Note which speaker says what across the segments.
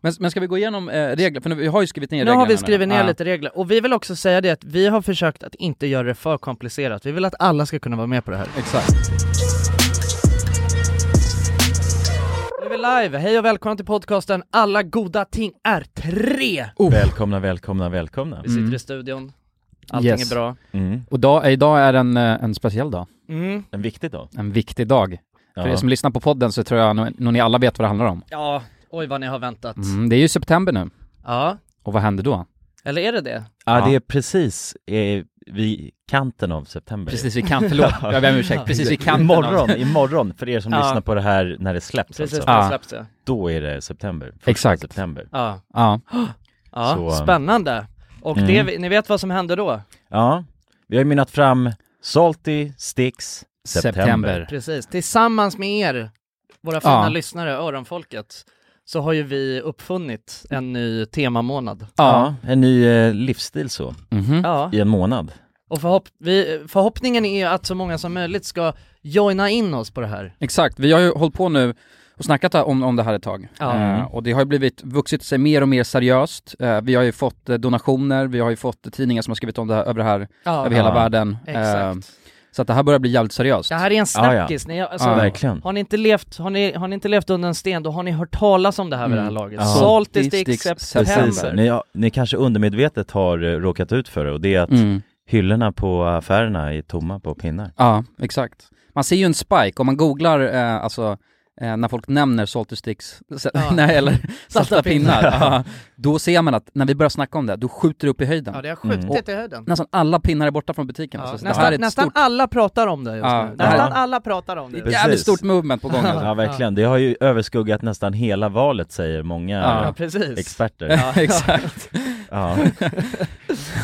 Speaker 1: Men, men ska vi gå igenom eh, regler? För nu, vi har ju skrivit ner
Speaker 2: Nu
Speaker 1: reglerna
Speaker 2: har vi skrivit ner
Speaker 1: Ah.
Speaker 2: lite regler, och vi vill också säga det att vi har försökt att inte göra det för komplicerat, vi vill att alla ska kunna vara med på det här.
Speaker 1: Exakt.
Speaker 2: Nu är vi live, hej och välkomna till podcasten Alla goda ting är tre!
Speaker 3: Välkomna, välkomna, välkomna.
Speaker 2: Vi sitter
Speaker 1: Oh. Mm.
Speaker 2: i studion, allting
Speaker 1: Yes.
Speaker 2: är bra.
Speaker 3: Mm.
Speaker 1: Och dag, idag är en, eh, en speciell dag.
Speaker 2: Mm.
Speaker 3: En viktig dag.
Speaker 1: En viktig dag. För er som lyssnar på podden så tror jag nog nog ni alla vet vad det handlar om.
Speaker 2: Ja, oj vad ni har väntat.
Speaker 1: Mm, det är ju september nu.
Speaker 2: Ja,
Speaker 1: Och vad händer då?
Speaker 2: eller är det det?
Speaker 3: ja, det är precis eh, vid kanten av september.
Speaker 1: Precis vid kanten, förlåt, jag ber om ursäkt. Precis vid kanten av-
Speaker 3: Imorgon, imorgon, för er som
Speaker 2: Ja.
Speaker 3: lyssnar på det här när det släpps
Speaker 2: Precis
Speaker 3: alltså.
Speaker 2: när det
Speaker 1: Ja.
Speaker 2: släpps det.
Speaker 3: Då är det september. Första
Speaker 1: Exakt.
Speaker 3: September.
Speaker 2: Ja,
Speaker 1: Ja.
Speaker 2: ja.
Speaker 3: Så, um,
Speaker 2: spännande. Och
Speaker 3: Mm.
Speaker 2: det, ni vet vad som hände då?
Speaker 3: Ja, vi har ju mynnat fram Salty, Sticks, September.
Speaker 1: September.
Speaker 2: Precis, tillsammans med er, våra fina
Speaker 1: Ja.
Speaker 2: lyssnare, öronfolket, så har ju vi uppfunnit en ny temamånad.
Speaker 1: Ja.
Speaker 3: Ja, en ny eh, livsstil så,
Speaker 1: Mhm.
Speaker 2: Ja,
Speaker 3: i en månad.
Speaker 2: och förhopp vi, förhoppningen är att så många som möjligt ska joina in oss på det här.
Speaker 1: Exakt, vi har ju hållit på nu och snackat om, om det här ett tag.
Speaker 2: Ja.
Speaker 1: Eh, och det har ju blivit, vuxit sig mer och mer seriöst. Eh, vi har ju fått eh, donationer, vi har ju fått eh, tidningar som har skrivit om det här, över det här,
Speaker 2: Ja,
Speaker 1: över hela
Speaker 3: Ja.
Speaker 1: världen. Eh,
Speaker 2: exakt.
Speaker 1: så att det här börjar bli jävligt seriöst.
Speaker 2: Det här är en
Speaker 3: Ja, ja.
Speaker 2: snackis, ni, alltså,
Speaker 1: Ja.
Speaker 3: Verkligen.
Speaker 2: har, ni inte levt, har, ni, har ni inte levt under en sten, då har ni hört talas om det här vid det här
Speaker 1: Mm.
Speaker 2: laget.
Speaker 3: Ja.
Speaker 2: Salty
Speaker 1: Salty
Speaker 2: Sticks
Speaker 1: Sticks
Speaker 3: Precis.
Speaker 2: September.
Speaker 3: Ni, har- ni kanske undermedvetet har eh, råkat ut för det och det är att
Speaker 1: Mm.
Speaker 3: hyllorna på affärerna är tomma på pinnar.
Speaker 1: Ja, exakt. Man ser ju en spike, om man googlar eh, alltså eh, när folk nämner salty sticks, s-
Speaker 2: Ja.
Speaker 1: nej, eller salta pinnar,
Speaker 2: pinnar.
Speaker 1: ja, då ser man att när vi börjar snacka om det, då skjuter det upp i höjden.
Speaker 2: Ja, det har skjutit
Speaker 3: Mm.
Speaker 2: i höjden.
Speaker 1: Nästan alla pinnar är borta från butiken.
Speaker 2: Ja,
Speaker 1: alltså, så det här är
Speaker 2: nästan
Speaker 1: ett
Speaker 2: nästan
Speaker 1: stort,
Speaker 2: alla pratar om det just
Speaker 1: Ja,
Speaker 2: nu.
Speaker 1: det
Speaker 3: här-
Speaker 2: Nästan alla pratar om det.
Speaker 3: Precis.
Speaker 1: jävligt stort movement på gång. alltså.
Speaker 3: Ja, verkligen. Det har ju överskuggat nästan hela valet, säger många
Speaker 1: Ja.
Speaker 2: Ja, precis.
Speaker 3: experter.
Speaker 1: Ja, Exakt.
Speaker 3: Ja.
Speaker 1: Ja,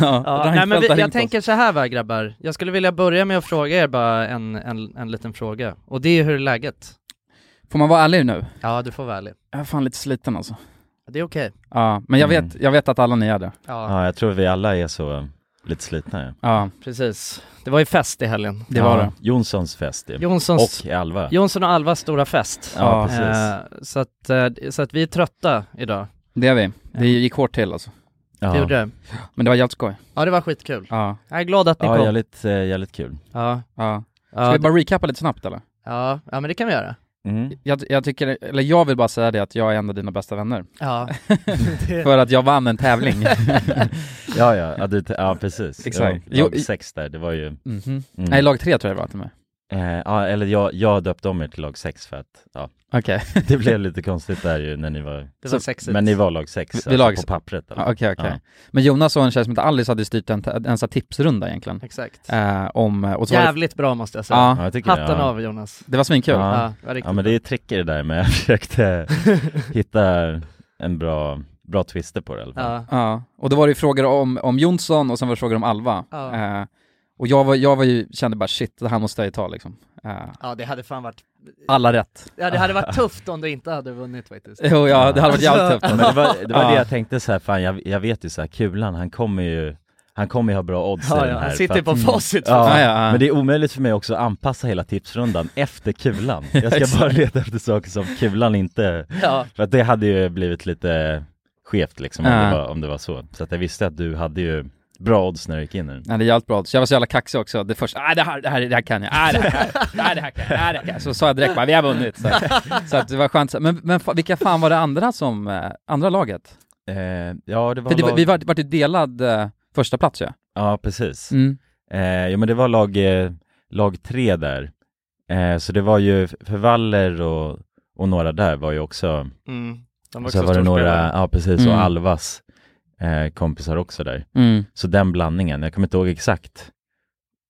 Speaker 2: Ja,
Speaker 1: Reinfeldt
Speaker 2: nej, men vi,
Speaker 1: har ringt
Speaker 2: jag
Speaker 1: oss.
Speaker 2: tänker så här va grabbar, jag skulle vilja börja med att fråga er bara en, en, en liten fråga, och det är hur är läget?
Speaker 1: Får man vara ärlig nu?
Speaker 2: Ja, du får vara ärlig.
Speaker 1: Jag är fan lite sliten alltså.
Speaker 2: Det är okej.
Speaker 1: Ja, men jag,
Speaker 3: Mm.
Speaker 1: vet, jag vet att alla ni är det.
Speaker 2: Ja,
Speaker 3: ja, jag tror vi alla är så eh, lite slitna. Ja.
Speaker 1: Ja,
Speaker 2: precis. Det var ju fest i helgen.
Speaker 1: det var
Speaker 3: ja.
Speaker 1: det.
Speaker 3: Jonssons fest ju.
Speaker 2: Jonssons,
Speaker 3: Och Alva.
Speaker 2: Jonsson och Alvas stora fest.
Speaker 1: Ja.
Speaker 3: ja, precis.
Speaker 2: Eh, så, att, eh, så att vi är trötta idag.
Speaker 1: Det är vi. Det gick hårt till alltså.
Speaker 2: Ja.
Speaker 3: Ja.
Speaker 2: Det gjorde det.
Speaker 1: Men det var jävligt skoj.
Speaker 2: Ja, det var skitkul.
Speaker 1: Ja,
Speaker 2: Jag är glad att ni
Speaker 3: Ja,
Speaker 2: kom.
Speaker 3: jävligt, eh, jävligt kul.
Speaker 2: Ja,
Speaker 1: ja. Ska
Speaker 2: ja,
Speaker 1: vi bara recapa lite snabbt eller?
Speaker 2: ja, ja, men det kan vi göra.
Speaker 3: Mm.
Speaker 1: Jag, jag tycker, eller jag vill bara säga det att jag är en av dina bästa vänner.
Speaker 2: Ja,
Speaker 1: För att jag vann en tävling.
Speaker 3: Ja, ja, ja, du, ja precis.
Speaker 1: Exakt.
Speaker 3: Ja, lag
Speaker 1: Jo, i-
Speaker 3: sex där, det var ju... Mm.
Speaker 1: Mhm. Nej, lag tre tror jag det var till mig.
Speaker 3: Eh, ja, eller jag, jag döpte om er till lag sex för att, ja,
Speaker 1: Okej,
Speaker 3: det blev lite konstigt där ju när ni var...
Speaker 2: det var sexigt.
Speaker 3: Men ni var lag sex,
Speaker 1: Vi- vi
Speaker 3: alltså,
Speaker 1: lag-
Speaker 3: på pappret. eller?
Speaker 1: Ja, okej, okej. Men Jonas och en tjej som heter Alice hade styrt en, en sån här tipsrunda egentligen.
Speaker 2: Exakt.
Speaker 1: Eh, om, och så var det,
Speaker 2: Jävligt bra måste jag säga.
Speaker 1: Ja.
Speaker 3: Ja, jag tycker det,
Speaker 2: Hatten
Speaker 3: ja.
Speaker 2: av Jonas.
Speaker 1: det var svinkul.
Speaker 3: Ja.
Speaker 2: Ja, det var riktigt
Speaker 3: Ja men det är trick i det där med jag försökte hitta en bra, bra twister på det i alla
Speaker 2: bra.
Speaker 3: fall.
Speaker 2: ja.
Speaker 1: Ja, och då var det ju frågor om, om Jonsson och sen var det frågor om Alva.
Speaker 2: Ja.
Speaker 1: Eh, och jag, var, jag var ju, kände bara shit, det här måste jag ju ta liksom. Eh,
Speaker 2: ja, det hade fan varit...
Speaker 1: alla rätt.
Speaker 2: Ja, det hade varit tufft om du inte hade vunnit faktiskt.
Speaker 1: Jo, ja, det hade varit jävligt tufft.
Speaker 3: Men det var, det, var
Speaker 1: Ja.
Speaker 3: det jag tänkte så här, fan jag, jag vet ju så här, Kulan han kommer ju, han kommer ju ha bra odds i
Speaker 2: Ja,
Speaker 3: den
Speaker 2: ja,
Speaker 3: här.
Speaker 2: han
Speaker 3: för
Speaker 2: sitter
Speaker 3: att-
Speaker 2: på facit. för
Speaker 3: Mm. Ja,
Speaker 1: Ja, ja.
Speaker 3: men det är omöjligt för mig också att anpassa hela tipsrundan efter Kulan. Jag ska bara leta efter saker som Kulan inte,
Speaker 2: fan. Ja.
Speaker 3: för att det hade ju blivit lite skevt liksom om,
Speaker 1: Ja.
Speaker 3: det, var, om det var så. Så att jag visste att du hade ju bra odds när du gick in i den.
Speaker 1: Nej, det är jävligt bra. Så jag var så jävla kaxig också. Det första, nej det här, det här, det här kan jag, nej det här, nej det här kan jag, nej det här kan jag. Så sa jag direkt bara, vi har vunnit. Så, att- så att det var skönt. Men, men fa- vilka fan var det andra som, eh, andra laget?
Speaker 3: Eh, ja, det var,
Speaker 1: För det, var-
Speaker 3: lag...
Speaker 1: vi var, vart ju delad eh, första plats ju.
Speaker 3: Ja, precis.
Speaker 1: Mm.
Speaker 3: Eh, ja men det var lag, eh, lag tre där. Eh, så det var ju, för Waller och, och några där var ju också,
Speaker 2: Mm. De
Speaker 3: så var det några,
Speaker 2: storspelare.
Speaker 3: ja precis,
Speaker 1: Mm.
Speaker 3: och Alvas eh, kompisar också där.
Speaker 1: Mm.
Speaker 3: Så den blandningen, jag kommer inte ihåg exakt.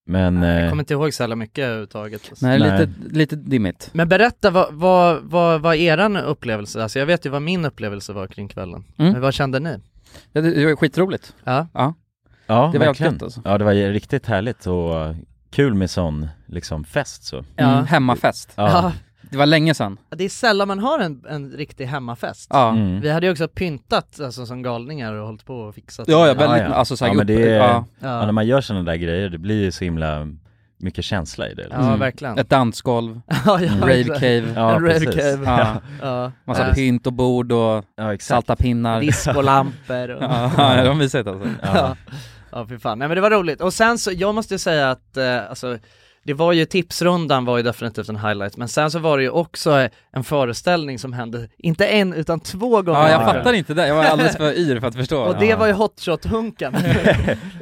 Speaker 3: Men,
Speaker 2: Jag
Speaker 3: eh,
Speaker 2: kommer inte ihåg så jävla mycket överhuvudtaget. alltså.
Speaker 1: Nej,
Speaker 3: Nej.
Speaker 1: Lite, lite dimmigt.
Speaker 2: Men berätta, vad, vad, vad, vad är eran upplevelse? Alltså jag vet ju vad min upplevelse var kring kvällen.
Speaker 1: Mm.
Speaker 2: Men vad kände ni?
Speaker 1: Ja, Det, det var skitroligt.
Speaker 2: Ja.
Speaker 3: ja
Speaker 1: det var
Speaker 3: verkligen.
Speaker 1: jävligt gött, alltså.
Speaker 3: Ja det var ju riktigt härligt och kul med sån liksom fest så.
Speaker 2: Ja.
Speaker 1: Mm. Hemmafest.
Speaker 3: Ja,
Speaker 1: Det var länge sedan.
Speaker 2: Ja, Det är sällan man har en, en riktig hemmafest.
Speaker 1: Ja.
Speaker 3: mm.
Speaker 2: Vi hade ju också pyntat alltså, som galningar och hållit på och fixat.
Speaker 1: Ja, ja,
Speaker 3: väl-
Speaker 1: väldigt,
Speaker 3: ja.
Speaker 1: alltså såhär,
Speaker 3: Ja, men det är-
Speaker 1: ja.
Speaker 3: ja,
Speaker 2: ja.
Speaker 3: när man gör sådana där grejer det blir ju så himla mycket känsla i det. liksom.
Speaker 2: Ja,
Speaker 1: Mm.
Speaker 2: verkligen.
Speaker 1: Ett dansgolv,
Speaker 2: ja, ja,
Speaker 1: rave
Speaker 2: exakt.
Speaker 1: cave,
Speaker 3: Ja,
Speaker 2: en
Speaker 3: precis.
Speaker 2: rave-cave.
Speaker 1: ja,
Speaker 2: Ja.
Speaker 1: massa
Speaker 2: Ja.
Speaker 1: pynt och bord och
Speaker 3: Ja, exakt.
Speaker 1: salta pinnar.
Speaker 2: Discolampor och...
Speaker 1: Ja, ja, de har vi sett alltså.
Speaker 2: Ja, ja fy fan. Nej men det var roligt. Och sen så, jag måste ju säga att, eh, alltså, det var ju, tipsrundan var ju definitivt en highlight, men sen så var det ju också eh, en föreställning som hände, inte en utan två gånger.
Speaker 1: Ja, jag
Speaker 3: Ja,
Speaker 1: fattar inte det. Jag var alldeles för yr för att förstå.
Speaker 2: Och det var ju hot shot-hunkan.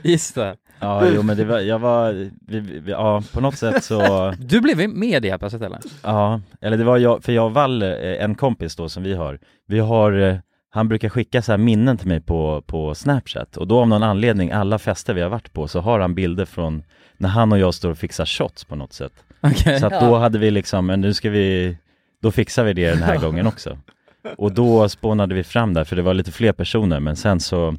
Speaker 1: Just det.
Speaker 3: Ja, jo men det var, jag var, vi, vi, ja på något sätt så,
Speaker 1: Du blev med i det här plötsligt eller?
Speaker 3: ja, eller det var jag, för jag och Valle, eh, en kompis då som vi har, vi har, eh, han brukar skicka så här minnen till mig på, på snapchat och då av någon anledning, alla fester vi har varit på så har han bilder från när han och jag står och fixar shots på något sätt.
Speaker 1: Okej.
Speaker 3: Så att då hade vi liksom, men nu ska vi, då fixar vi det den här gången också. Och då spånade vi fram där, för det var lite fler personer, men sen så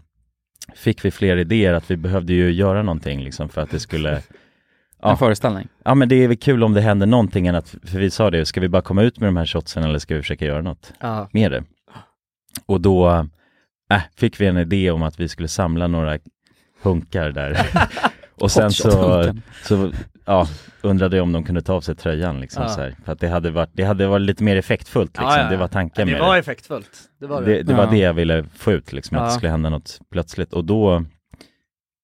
Speaker 3: fick vi fler idéer att vi behövde ju göra någonting liksom för att det skulle, Ja.
Speaker 1: En föreställning.
Speaker 3: ja men det är väl kul om det händer någonting än att, för vi sa det, ska vi bara komma ut med de här shotsen eller ska vi försöka göra något
Speaker 2: ja.
Speaker 3: med det? Och då, äh, fick vi en idé om att vi skulle samla några hunkar där. Och sen så,
Speaker 1: Hotshot-hunken.
Speaker 3: så ja, undrade jag om de kunde ta av sig tröjan liksom
Speaker 2: Ja.
Speaker 3: så här. För att det hade varit, det hade varit lite mer effektfullt liksom,
Speaker 2: Ja, ja, ja.
Speaker 3: det var tanken
Speaker 2: Det
Speaker 3: med
Speaker 2: var effektfullt. Det var
Speaker 3: det.
Speaker 2: det.
Speaker 3: Det, det var
Speaker 1: Ja.
Speaker 3: det jag ville få ut liksom, att
Speaker 2: Ja.
Speaker 3: det skulle hända något plötsligt och då,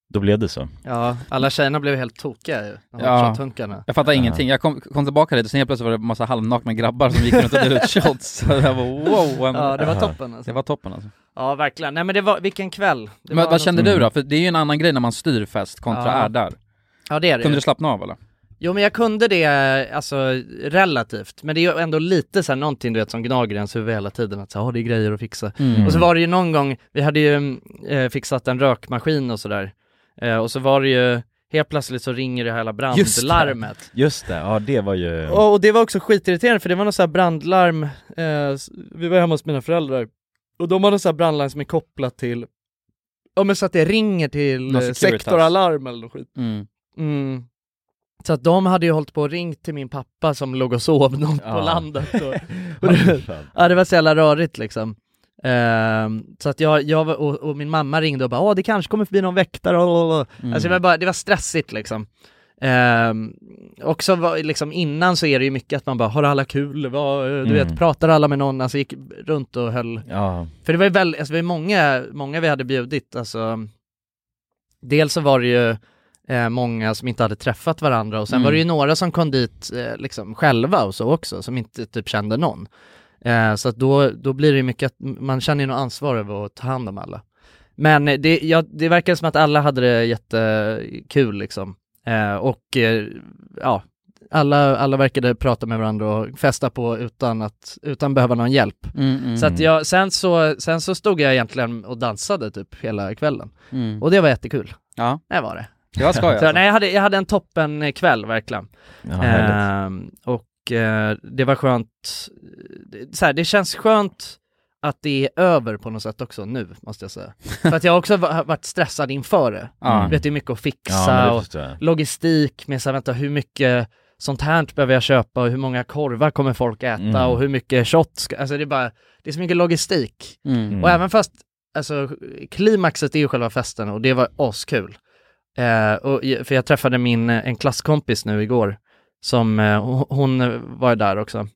Speaker 3: då blev det så.
Speaker 2: Ja, alla tjejerna blev helt tokiga ju, de
Speaker 1: Ja.
Speaker 2: hot shot-hunkarna.
Speaker 1: Jag fattar
Speaker 3: Ja.
Speaker 1: ingenting. Jag kom, kom tillbaka dit och sen helt plötsligt var det massa halvnakna grabbar som gick runt och delade ut shots. Så jag var wow. vad-
Speaker 2: Ja, det var
Speaker 3: Aha.
Speaker 2: toppen alltså.
Speaker 1: Det var toppen alltså.
Speaker 2: Ja, verkligen. Nej men det var, vilken kväll. Det
Speaker 1: Men
Speaker 2: var
Speaker 1: vad
Speaker 2: något-
Speaker 1: kände du
Speaker 3: Mm.
Speaker 1: då? För det är ju en annan grej när man styr fest kontra
Speaker 2: Ja.
Speaker 1: är där.
Speaker 2: Ja det är det ju.
Speaker 1: Kunde du slappna av eller?
Speaker 2: Jo men jag kunde det, alltså relativt, men det är ju ändå lite så här någonting du vet som gnager i ens huvud hela tiden, att så här, "Ah, det är grejer att fixa.
Speaker 1: Mm.
Speaker 2: Och så var det ju någon gång, vi hade ju mm, eh, fixat en rökmaskin och sådär, eh, och så var det ju, helt plötsligt så ringer det hela
Speaker 1: Just det.
Speaker 2: brandlarmet.
Speaker 3: Just det, ja det var ju,
Speaker 2: Och, och det var också skitirriterande för det var något så här brandlarm, eh, s- vi var hemma hos mina föräldrar, och de har något så här brandlarm som är kopplat till, ja men så att det ringer till
Speaker 1: Någon
Speaker 2: eh,
Speaker 1: Securitas.
Speaker 2: sektoralarm eller något skit.
Speaker 1: Mm.
Speaker 2: Mm. Så att de hade ju hållit på och ringt till min pappa som låg och sov någon på
Speaker 3: Ja.
Speaker 2: landet. Och,
Speaker 3: Ja,
Speaker 2: och
Speaker 3: fy
Speaker 2: det,
Speaker 3: fan.
Speaker 2: ja, det var så jävla rörigt liksom. Ehm, så att jag, jag var- och, och min mamma ringde och bara åh det kanske kommer förbi någon väktare, och, och, och.
Speaker 1: Mm.
Speaker 2: Alltså det var, bara, det var stressigt liksom. Ehm, också var, liksom innan så är det ju mycket att man bara har alla kul, Vad, eh, du
Speaker 3: Mm.
Speaker 2: vet pratar alla med någon, alltså gick runt och höll
Speaker 3: ja,
Speaker 2: för det var ju väldigt, alltså det var ju många, många vi hade bjudit, alltså Dels så var det ju eh, många som inte hade träffat varandra och sen
Speaker 1: Mm.
Speaker 2: var det ju några som kom dit eh, liksom själva och så också, som inte typ kände någon. Eh, så att då, då blir det ju mycket att man känner ju något ansvar över att ta hand om alla. Men eh, det, ja, det verkar som att alla hade det jättekul liksom. Eh, och eh, ja, alla, alla verkade prata med varandra och festa på utan att, utan behöva någon hjälp.
Speaker 1: Mm, mm,
Speaker 2: Så att jag, sen så, sen så stod jag egentligen och dansade typ hela kvällen.
Speaker 1: mm.
Speaker 2: Och det var jättekul.
Speaker 1: Ja,
Speaker 2: Det var det.
Speaker 1: det var skoj
Speaker 2: Så,
Speaker 1: alltså.
Speaker 2: nej, jag, hade, jag hade en toppen eh, kväll verkligen.
Speaker 3: ja härligt.
Speaker 2: Ehm, och eh, det var skönt, det- så här, det känns skönt att det är över på något sätt också nu, måste jag säga. För att jag har också va- har varit stressad inför det.
Speaker 1: Ja.
Speaker 2: Du vet, det är mycket att fixa
Speaker 3: Ja, men det
Speaker 2: och
Speaker 3: förstår jag.
Speaker 2: logistik med så här, vänta, hur mycket sånt här behöver jag köpa och hur många korvar kommer folk äta
Speaker 3: Mm.
Speaker 2: och hur mycket shot ska, alltså det är bara, det är så mycket logistik.
Speaker 1: Mm.
Speaker 2: Och även fast, alltså klimaxet är ju själva festen och det var askul. Eh, och, j- för jag träffade min, eh, en klasskompis nu igår, som, eh, ho- hon eh, var ju där också.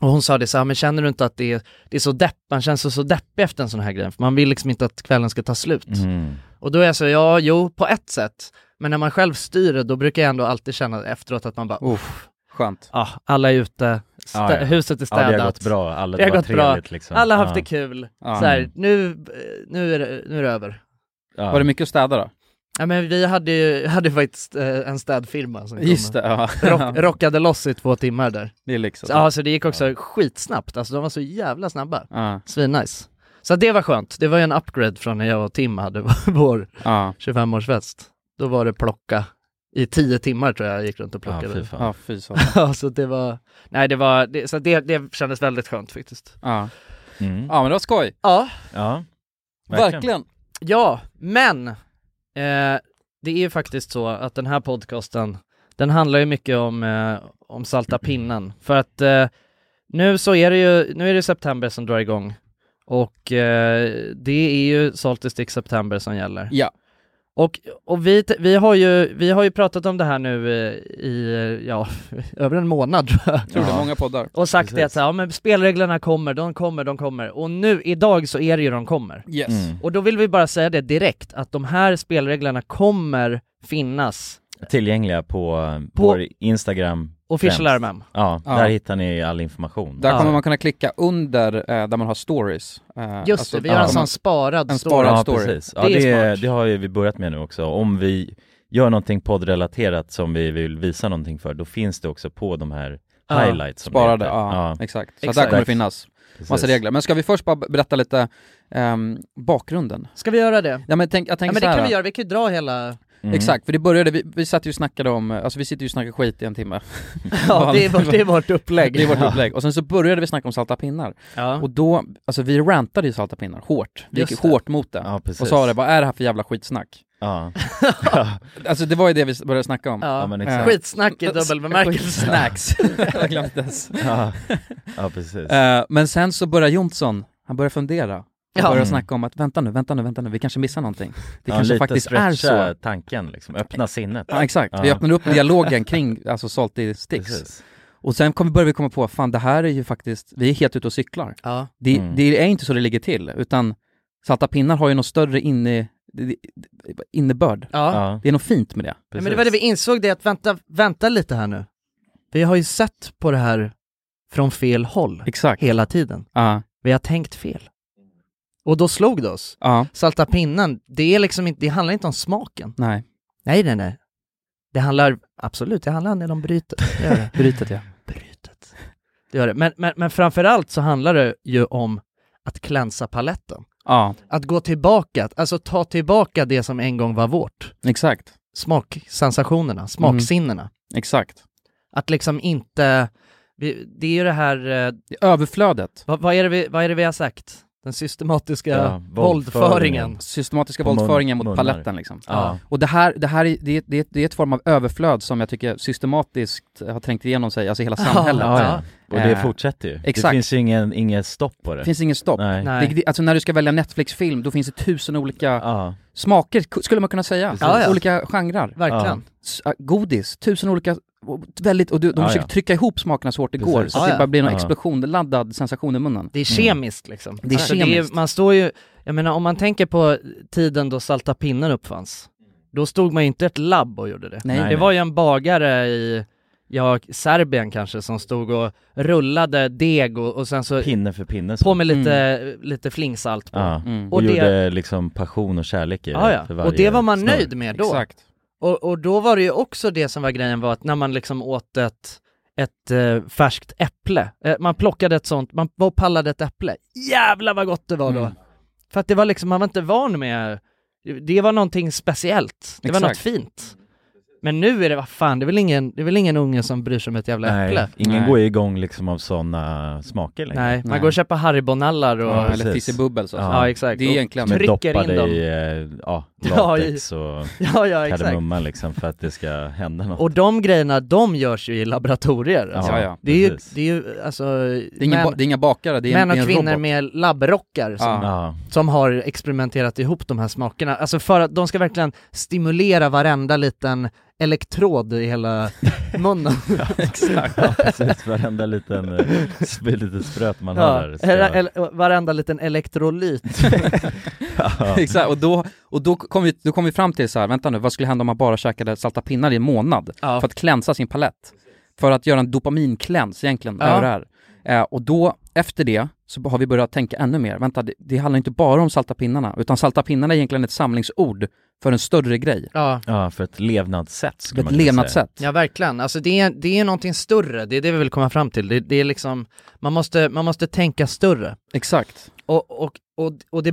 Speaker 2: Och hon sa det så här, men känner du inte att det är, det är så depp, man känns så, så deppig efter en sån här grej, för man vill liksom inte att kvällen ska ta slut.
Speaker 3: Mm.
Speaker 2: Och då är jag så, ja, jo, på ett sätt, men när man själv styr det, då brukar jag ändå alltid känna efteråt att man bara,
Speaker 1: Uff, skönt.
Speaker 2: ah, alla är ute, stä-
Speaker 3: Ja, ja.
Speaker 2: huset är
Speaker 3: Ja
Speaker 2: städat.
Speaker 3: det har gått bra, alla,
Speaker 2: Det
Speaker 3: det,
Speaker 2: har
Speaker 3: var
Speaker 2: gått bra.
Speaker 3: trevligt liksom.
Speaker 2: Alla har
Speaker 3: Ja.
Speaker 2: haft det kul.
Speaker 1: Ja.
Speaker 2: Så här, nu, nu, är det, nu är det över.
Speaker 3: Ja.
Speaker 1: Var det mycket att städa då?
Speaker 2: Ja men vi hade ju, hade faktiskt eh, en städfirma som kom
Speaker 1: Just
Speaker 2: och
Speaker 1: det, ja.
Speaker 2: Rock, rockade loss i två timmar där.
Speaker 1: det är lyx
Speaker 2: Så,
Speaker 1: alltså.
Speaker 2: ja så det gick också skitsnabbt, alltså de var så jävla snabba.
Speaker 1: Ja,
Speaker 2: Svinnice. Så det var skönt, det var ju en upgrade från när jag och Tim hade vår
Speaker 1: ja,
Speaker 2: 25-årsfest. Då var det plocka, i tio timmar tror jag jag gick runt och
Speaker 3: Ja, fy
Speaker 2: plockade.
Speaker 3: fan.
Speaker 1: ja, fy så.
Speaker 2: Ja, så det var, nej det var, det, så det, det kändes väldigt skönt faktiskt.
Speaker 1: Ja.
Speaker 3: Mm.
Speaker 1: ja, men det var skoj.
Speaker 2: Ja,
Speaker 3: Ja.
Speaker 1: Verkligen.
Speaker 2: Ja, men eh, det är ju faktiskt så att den här podcasten, den handlar ju mycket om, eh, om salta pinnen. För att eh, nu så är det ju, nu är det september som drar igång. Och eh, det är ju Salt i Stick September som gäller.
Speaker 1: Ja.
Speaker 2: Och, och vi, t- vi, har ju, vi har ju pratat om det här nu eh, i, eh, ja, över en månad tror jag.
Speaker 1: Tror det,
Speaker 3: Ja.
Speaker 1: många poddar.
Speaker 2: Och sagt det
Speaker 3: Precis.
Speaker 2: att så här, ja, men spelreglerna kommer, de kommer, de kommer. Och nu, idag så är det ju de kommer.
Speaker 1: Yes.
Speaker 3: Mm.
Speaker 2: Och då vill vi bara säga det direkt, att de här spelreglerna kommer finnas.
Speaker 3: Tillgängliga på, eh,
Speaker 2: På-
Speaker 3: vår Instagram
Speaker 2: Official
Speaker 3: Främst.
Speaker 2: RMM.
Speaker 3: Ja,
Speaker 1: Ja.
Speaker 3: där hittar ni all information
Speaker 1: Där
Speaker 2: Ja.
Speaker 1: kommer man kunna klicka under eh, där man har stories. Eh,
Speaker 2: Just
Speaker 1: alltså,
Speaker 2: det, vi gör en
Speaker 1: ja.
Speaker 2: sån sparad
Speaker 1: en
Speaker 2: story.
Speaker 1: sparad-
Speaker 3: Ja,
Speaker 1: story.
Speaker 3: precis. Ja,
Speaker 2: Det är
Speaker 3: det, det,
Speaker 2: smart.
Speaker 3: har ju vi börjat med nu också. Om vi gör någonting poddrelaterat som vi vill visa någonting för, då finns det också på de här
Speaker 2: Ja,
Speaker 3: highlights som det
Speaker 1: Sparade,
Speaker 3: heter.
Speaker 1: ja, Exakt. Så
Speaker 2: Exakt.
Speaker 1: där kommer det finnas
Speaker 3: precis.
Speaker 1: massa regler. Men ska vi först bara berätta lite ehm, bakgrunden?
Speaker 2: Ska vi göra det?
Speaker 1: Ja men tänk, jag
Speaker 2: Ja
Speaker 1: tänker
Speaker 2: men det
Speaker 1: så här,
Speaker 2: kan vi göra, vi kan ju dra hela...
Speaker 3: Mm.
Speaker 1: Exakt, för det började, vi, vi satt ju och snackade om, eh, alltså vi sitter ju och snackar skit i en timme.
Speaker 2: Ja, det är, vårt- det är vårt upplägg.
Speaker 1: Det är vårt upplägg. Och sen så började vi snacka om salta pinnar.
Speaker 2: Ja.
Speaker 1: Och då, alltså vi rantade ju salta pinnar hårt. Vi gick
Speaker 2: Just det.
Speaker 1: hårt mot det.
Speaker 3: Ja, precis.
Speaker 1: och sa det, vad är det här för jävla skitsnack?
Speaker 3: Ja,
Speaker 1: Alltså det var ju det vi började snacka om.
Speaker 3: ja
Speaker 2: Ja.
Speaker 3: men
Speaker 1: Eh,
Speaker 3: exakt.
Speaker 2: Skitsnack i dubbel bemärkelse.
Speaker 1: Snacks. Jag har glömt det.
Speaker 3: Ja, ja precis.
Speaker 1: Eh, men sen så börjar Jonsson, han börjar fundera. Han
Speaker 2: Ja.
Speaker 1: börjar
Speaker 3: Mm.
Speaker 1: snacka om att vänta nu, vänta nu, vänta nu, vi kanske missar någonting. Det
Speaker 3: Ja,
Speaker 1: kanske
Speaker 3: lite
Speaker 1: faktiskt är
Speaker 3: stretcha
Speaker 1: så.
Speaker 3: tanken liksom, öppna sinnet.
Speaker 1: Ja, exakt, vi
Speaker 3: Ja.
Speaker 1: öppnar upp dialogen kring alltså salt i sticks.
Speaker 3: Precis.
Speaker 1: Och sen kommer, börjar vi komma på, fan det här är ju faktiskt, vi är helt ute och cyklar.
Speaker 2: Ja.
Speaker 1: Det,
Speaker 3: Mm.
Speaker 1: det är inte så det ligger till, utan salta pinnar har ju något större inne, det- det- innebörd.
Speaker 2: Ja.
Speaker 3: Ja,
Speaker 1: Det är något fint med det.
Speaker 2: Nej,
Speaker 3: precis.
Speaker 2: men det var det vi insåg, det att vänta, vänta lite här nu. Vi har ju sett på det här från fel håll
Speaker 1: Exakt.
Speaker 2: hela tiden.
Speaker 1: Ja,
Speaker 2: Vi har tänkt fel. Och då slog det oss.
Speaker 1: ja,
Speaker 2: Salta pinnen, det, är liksom inte, det handlar inte om smaken.
Speaker 1: nej,
Speaker 2: Nej, nej, nej. Det handlar, absolut, det handlar om det de bryter. Det gör det.
Speaker 1: brytet ja.
Speaker 2: Brytet. Det gör det. Men, men, men framförallt så handlar det ju om att klänsa paletten.
Speaker 1: Ja,
Speaker 2: Att gå tillbaka, att- alltså ta tillbaka det som en gång var vårt.
Speaker 1: exakt,
Speaker 2: Smaksensationerna, smaksinnena.
Speaker 1: exakt.
Speaker 2: Att liksom inte, vi, det är ju det här, eh,
Speaker 1: Det är Överflödet,
Speaker 2: vad, vad, är det vi, vad är det vi har sagt? Den systematiska
Speaker 3: Ja,
Speaker 2: våldföringen.
Speaker 3: våldföringen.
Speaker 1: systematiska
Speaker 3: Mun-
Speaker 1: våldföringen mot
Speaker 3: munnar.
Speaker 1: paletten liksom.
Speaker 3: Ja.
Speaker 1: Och det här, det här är, det, är- det, är- det är ett form av överflöd som jag tycker systematiskt har trängt igenom sig, alltså hela samhället.
Speaker 3: Ja, ja. Och det
Speaker 1: Eh,
Speaker 3: fortsätter ju.
Speaker 1: exakt.
Speaker 3: Det finns ju ingen, ingen stopp på det.
Speaker 1: Det finns ingen stopp.
Speaker 3: Nej.
Speaker 2: Nej.
Speaker 1: Det, det, alltså när du ska välja Netflix-film, då finns det tusen olika
Speaker 3: Ja,
Speaker 1: smaker, ku- skulle man kunna säga.
Speaker 3: Precis.
Speaker 2: Ja, ja.
Speaker 1: Olika genrer.
Speaker 2: Verkligen.
Speaker 1: S- äh, Godis, tusen olika, och väldigt, och du, de
Speaker 3: Ja,
Speaker 1: försöker
Speaker 3: ja.
Speaker 1: trycka ihop smakerna så hårt det
Speaker 3: Precis.
Speaker 1: går, så att
Speaker 2: Ja,
Speaker 1: det
Speaker 2: ja.
Speaker 1: bara blir någon
Speaker 3: Ja.
Speaker 1: explosionladdad sensation i munnen.
Speaker 2: Det är kemiskt liksom.
Speaker 1: Mm. Det är kemiskt.
Speaker 2: man står ju, jag menar om man tänker på tiden då salta pinnen uppfanns, då stod man ju inte i ett labb och gjorde det.
Speaker 1: Nej.
Speaker 3: Nej.
Speaker 2: Det var ju en bagare i, ja, Serbien kanske, som stod och rullade deg och, och sen så
Speaker 3: pinne för pinne. så.
Speaker 2: på med lite, lite flingsalt på.
Speaker 3: Ja.
Speaker 1: Mm.
Speaker 3: Och,
Speaker 2: Och det-
Speaker 3: gjorde liksom passion och kärlek i
Speaker 2: Ja,
Speaker 3: för
Speaker 2: ja.
Speaker 3: varje
Speaker 2: Och det var man
Speaker 3: snurr.
Speaker 2: nöjd med då.
Speaker 1: Exakt.
Speaker 2: Och, och då var det ju också det som var grejen var att när man liksom åt ett, ett eh, färskt äpple, eh, man plockade ett sånt, man var och pallade ett äpple, jävlar vad gott det var då!
Speaker 1: Mm.
Speaker 2: För att det var liksom, man var inte van med, det var någonting speciellt, det var något
Speaker 1: Exakt.
Speaker 2: fint. Men nu är det, vad fan, det är väl ingen, det är väl ingen unge som bryr sig om ett jävla
Speaker 3: Nej,
Speaker 2: äpple?
Speaker 3: ingen
Speaker 1: Nej.
Speaker 3: går ju igång liksom av sådana smaker längre.
Speaker 2: Nej, man
Speaker 1: Nej.
Speaker 2: går och köper haribonallar och,
Speaker 1: Ja,
Speaker 2: ja,
Speaker 1: eller alltså.
Speaker 3: precis.
Speaker 1: fizzybubbel så.
Speaker 3: Ja,
Speaker 2: exakt.
Speaker 1: Det är egentligen...
Speaker 3: Som är
Speaker 2: trycker in
Speaker 3: doppade
Speaker 2: dem.
Speaker 3: i eh, ja,
Speaker 2: Ja, i-
Speaker 3: latex och
Speaker 2: ja, ja exakt.
Speaker 3: kardemumma liksom för att det ska hända något.
Speaker 2: Och de grejerna, de görs ju i laboratorier. Alltså.
Speaker 1: Ja, ja.
Speaker 2: Det är ju,
Speaker 3: precis.
Speaker 2: det är ju alltså,
Speaker 1: Det är, ingen ba, det är inga bakare, det är
Speaker 2: Män
Speaker 1: en, det är
Speaker 2: och
Speaker 1: en
Speaker 2: kvinnor
Speaker 1: robot.
Speaker 2: med labbrockar som,
Speaker 1: Ja.
Speaker 3: Ja,
Speaker 2: som har experimenterat ihop de här smakerna. Alltså för att de ska verkligen stimulera varenda liten elektrod i hela munnen.
Speaker 3: ja precis, varenda liten, eh, sp- litet spröt man har där.
Speaker 2: ja.
Speaker 3: ska-
Speaker 2: Eller- eller- varenda liten elektrolyt.
Speaker 3: ja.
Speaker 1: Exakt, och då, och då kom vi, då kom vi fram till så här, vänta nu, vad skulle hända om man bara käkade salta pinnar i en månad?
Speaker 2: Ja.
Speaker 1: För att klänsa sin palett. För att göra en dopaminklänz egentligen,
Speaker 2: Ja.
Speaker 1: över det här. Eh, och då, efter det, så har vi börjat tänka ännu mer. Vänta, det, det handlar inte bara om salta pinnarna, utan salta pinnarna är egentligen ett samlingsord för en större grej.
Speaker 2: Ja.
Speaker 3: ja, för ett levnadssätt skulle
Speaker 1: Ett
Speaker 3: man kunna säga.
Speaker 1: levnadssätt.
Speaker 2: Ja verkligen, alltså det är, det är någonting större, det är det vi vill komma fram till. Det, det är liksom, man måste, man måste tänka större.
Speaker 1: Exakt.
Speaker 2: Och, och, och, och det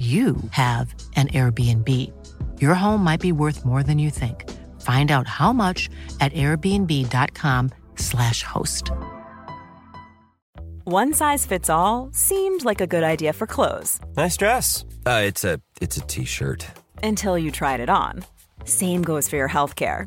Speaker 4: you have an Airbnb. Your home might be worth more than you think. Find out how much at airbnb.com/slash host.
Speaker 5: One size fits all seemed like a good idea for clothes
Speaker 6: Nice dress. Uh, it's a it's a t-shirt.
Speaker 5: until you tried it on. Same goes for your healthcare.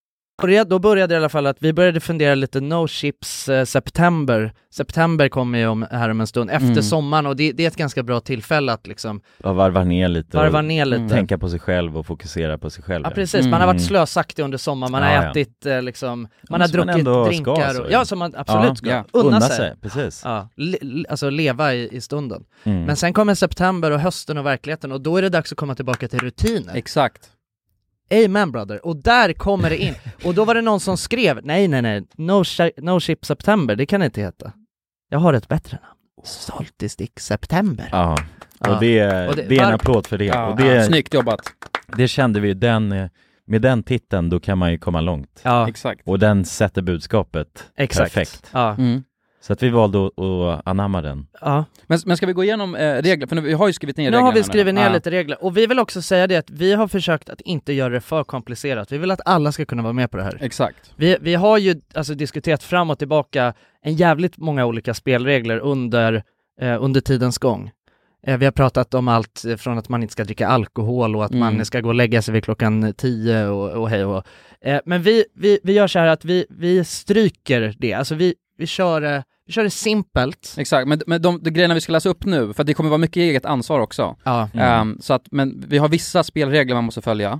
Speaker 7: Börja- Då började det i alla fall att vi började fundera lite no chips eh, september. September kommer ju om, här om en stund, efter
Speaker 8: Mm.
Speaker 7: sommaren och det, det är ett ganska bra tillfälle att liksom
Speaker 3: Jag varvar ner lite och
Speaker 7: varva ner lite.
Speaker 3: tänka på sig själv och fokusera på sig själv.
Speaker 7: Ja precis, man har varit slösaktig under sommaren, man har
Speaker 3: Mm. Ja, ja.
Speaker 7: ätit eh, liksom, man har
Speaker 3: som man
Speaker 7: druckit
Speaker 3: ändå ska,
Speaker 7: drinkar
Speaker 3: så
Speaker 7: och,
Speaker 3: ju.
Speaker 7: ja som man absolut
Speaker 3: Ja,
Speaker 7: ska,
Speaker 1: ja.
Speaker 7: unna sig.
Speaker 3: precis.
Speaker 7: Ja, le, le- alltså leva i, i stunden.
Speaker 3: Mm.
Speaker 7: Men sen kommer september och hösten och verkligheten och då är det dags att komma tillbaka till rutiner.
Speaker 1: Exakt.
Speaker 7: Amen brother, och där kommer det in. Och då var det någon som skrev, nej nej nej, no, shi- no ship September, det kan det inte heta. Jag har ett bättre namn.
Speaker 3: Oh.
Speaker 7: Saltistick September.
Speaker 3: Ja,
Speaker 7: Ja.
Speaker 3: och det,
Speaker 7: Och det-
Speaker 3: det, är
Speaker 7: var-
Speaker 3: en applåd för det.
Speaker 1: Ja,
Speaker 3: och det,
Speaker 1: ja, snyggt jobbat.
Speaker 3: det kände vi ju, den, eh, med den titeln då kan man ju komma långt.
Speaker 7: Ja,
Speaker 1: Exakt.
Speaker 3: Och den sätter budskapet
Speaker 7: exakt.
Speaker 3: perfekt.
Speaker 7: Ja,
Speaker 1: Mm.
Speaker 3: Så att vi valde att, att anamma den.
Speaker 7: ja.
Speaker 1: Men, men ska vi gå igenom eh, regler? För nu, vi har ju skrivit ner
Speaker 7: Nu
Speaker 1: reglerna.
Speaker 7: har vi skrivit ner
Speaker 1: Ja.
Speaker 7: lite regler, och vi vill också säga det att vi har försökt att inte göra det för komplicerat, vi vill att alla ska kunna vara med på det här.
Speaker 1: Exakt.
Speaker 7: Vi, vi har ju alltså, diskuterat fram och tillbaka en jävligt många olika spelregler under, eh, under tidens gång. Eh, vi har pratat om allt eh, från att man inte ska dricka alkohol och att
Speaker 1: Mm.
Speaker 7: man ska gå och lägga sig vid klockan tio och, och hej och eh, Men vi, vi, vi gör så här att vi, vi stryker det, alltså vi, vi, kör, eh, vi kör det simpelt.
Speaker 1: Exakt, men, men de, de grejerna vi ska läsa upp nu, för att det kommer vara mycket eget ansvar också.
Speaker 7: Ja.
Speaker 1: Ehm, så att, men vi har vissa spelregler man måste följa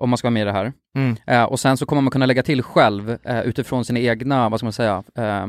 Speaker 1: om man ska vara med i det här.
Speaker 7: Mm.
Speaker 1: Eh, och sen så kommer man kunna lägga till själv eh, utifrån sina egna, vad ska man säga, eh,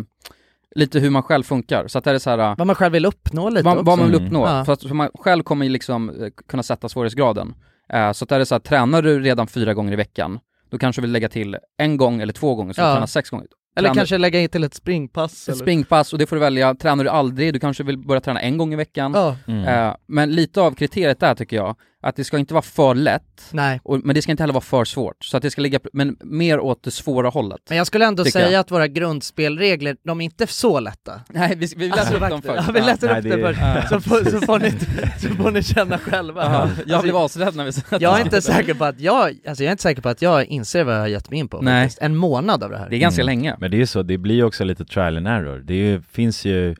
Speaker 1: lite hur man själv funkar. Så att det är så här, eh,
Speaker 7: Vad man själv vill uppnå lite
Speaker 1: vad,
Speaker 7: också.
Speaker 1: vad man vill
Speaker 3: Mm.
Speaker 1: uppnå.
Speaker 7: Ja.
Speaker 1: För att för man själv kommer ju liksom eh, kunna sätta svårighetsgraden. Eh, så att det är så här, tränar du redan fyra gånger i veckan, då kanske vi lägga till en gång eller två gånger, så
Speaker 7: Ja.
Speaker 1: du tränar sex gånger.
Speaker 7: Eller
Speaker 1: Tränar-
Speaker 7: kanske lägga in till ett springpass.
Speaker 1: ett
Speaker 7: eller-
Speaker 1: springpass och det får du välja, tränar du aldrig, du kanske vill börja träna en gång i veckan.
Speaker 7: Ja,
Speaker 1: Eh, men lite av kriteriet där tycker jag, att det ska inte vara för lätt,
Speaker 7: nej.
Speaker 1: och, men det ska inte heller vara för svårt. Så att det ska ligga, men mer åt det svåra hållet.
Speaker 7: Men jag skulle ändå
Speaker 1: Tycker
Speaker 7: säga
Speaker 1: jag.
Speaker 7: att våra grundspelregler, de är inte så lätta.
Speaker 1: Nej, vi, vi läser
Speaker 7: Alltså,
Speaker 1: upp dem
Speaker 7: faktiskt.
Speaker 1: först.
Speaker 7: Ja, vi läser
Speaker 3: Nej,
Speaker 7: upp
Speaker 3: det
Speaker 7: det
Speaker 3: är-
Speaker 7: först, så får, så, får ni, så får ni känna själva.
Speaker 1: Ja, jag blev
Speaker 7: Alltså,
Speaker 1: asrädd när vi satt
Speaker 7: jag är inte säker på att jag, alltså jag är inte säker på att jag inser vad jag har gett mig in på
Speaker 1: Nej.
Speaker 7: faktiskt. En månad av det här.
Speaker 1: Det är ganska
Speaker 3: Mm.
Speaker 1: länge.
Speaker 3: Men det är ju så, det blir ju också lite trial and error. Det är ju, finns ju,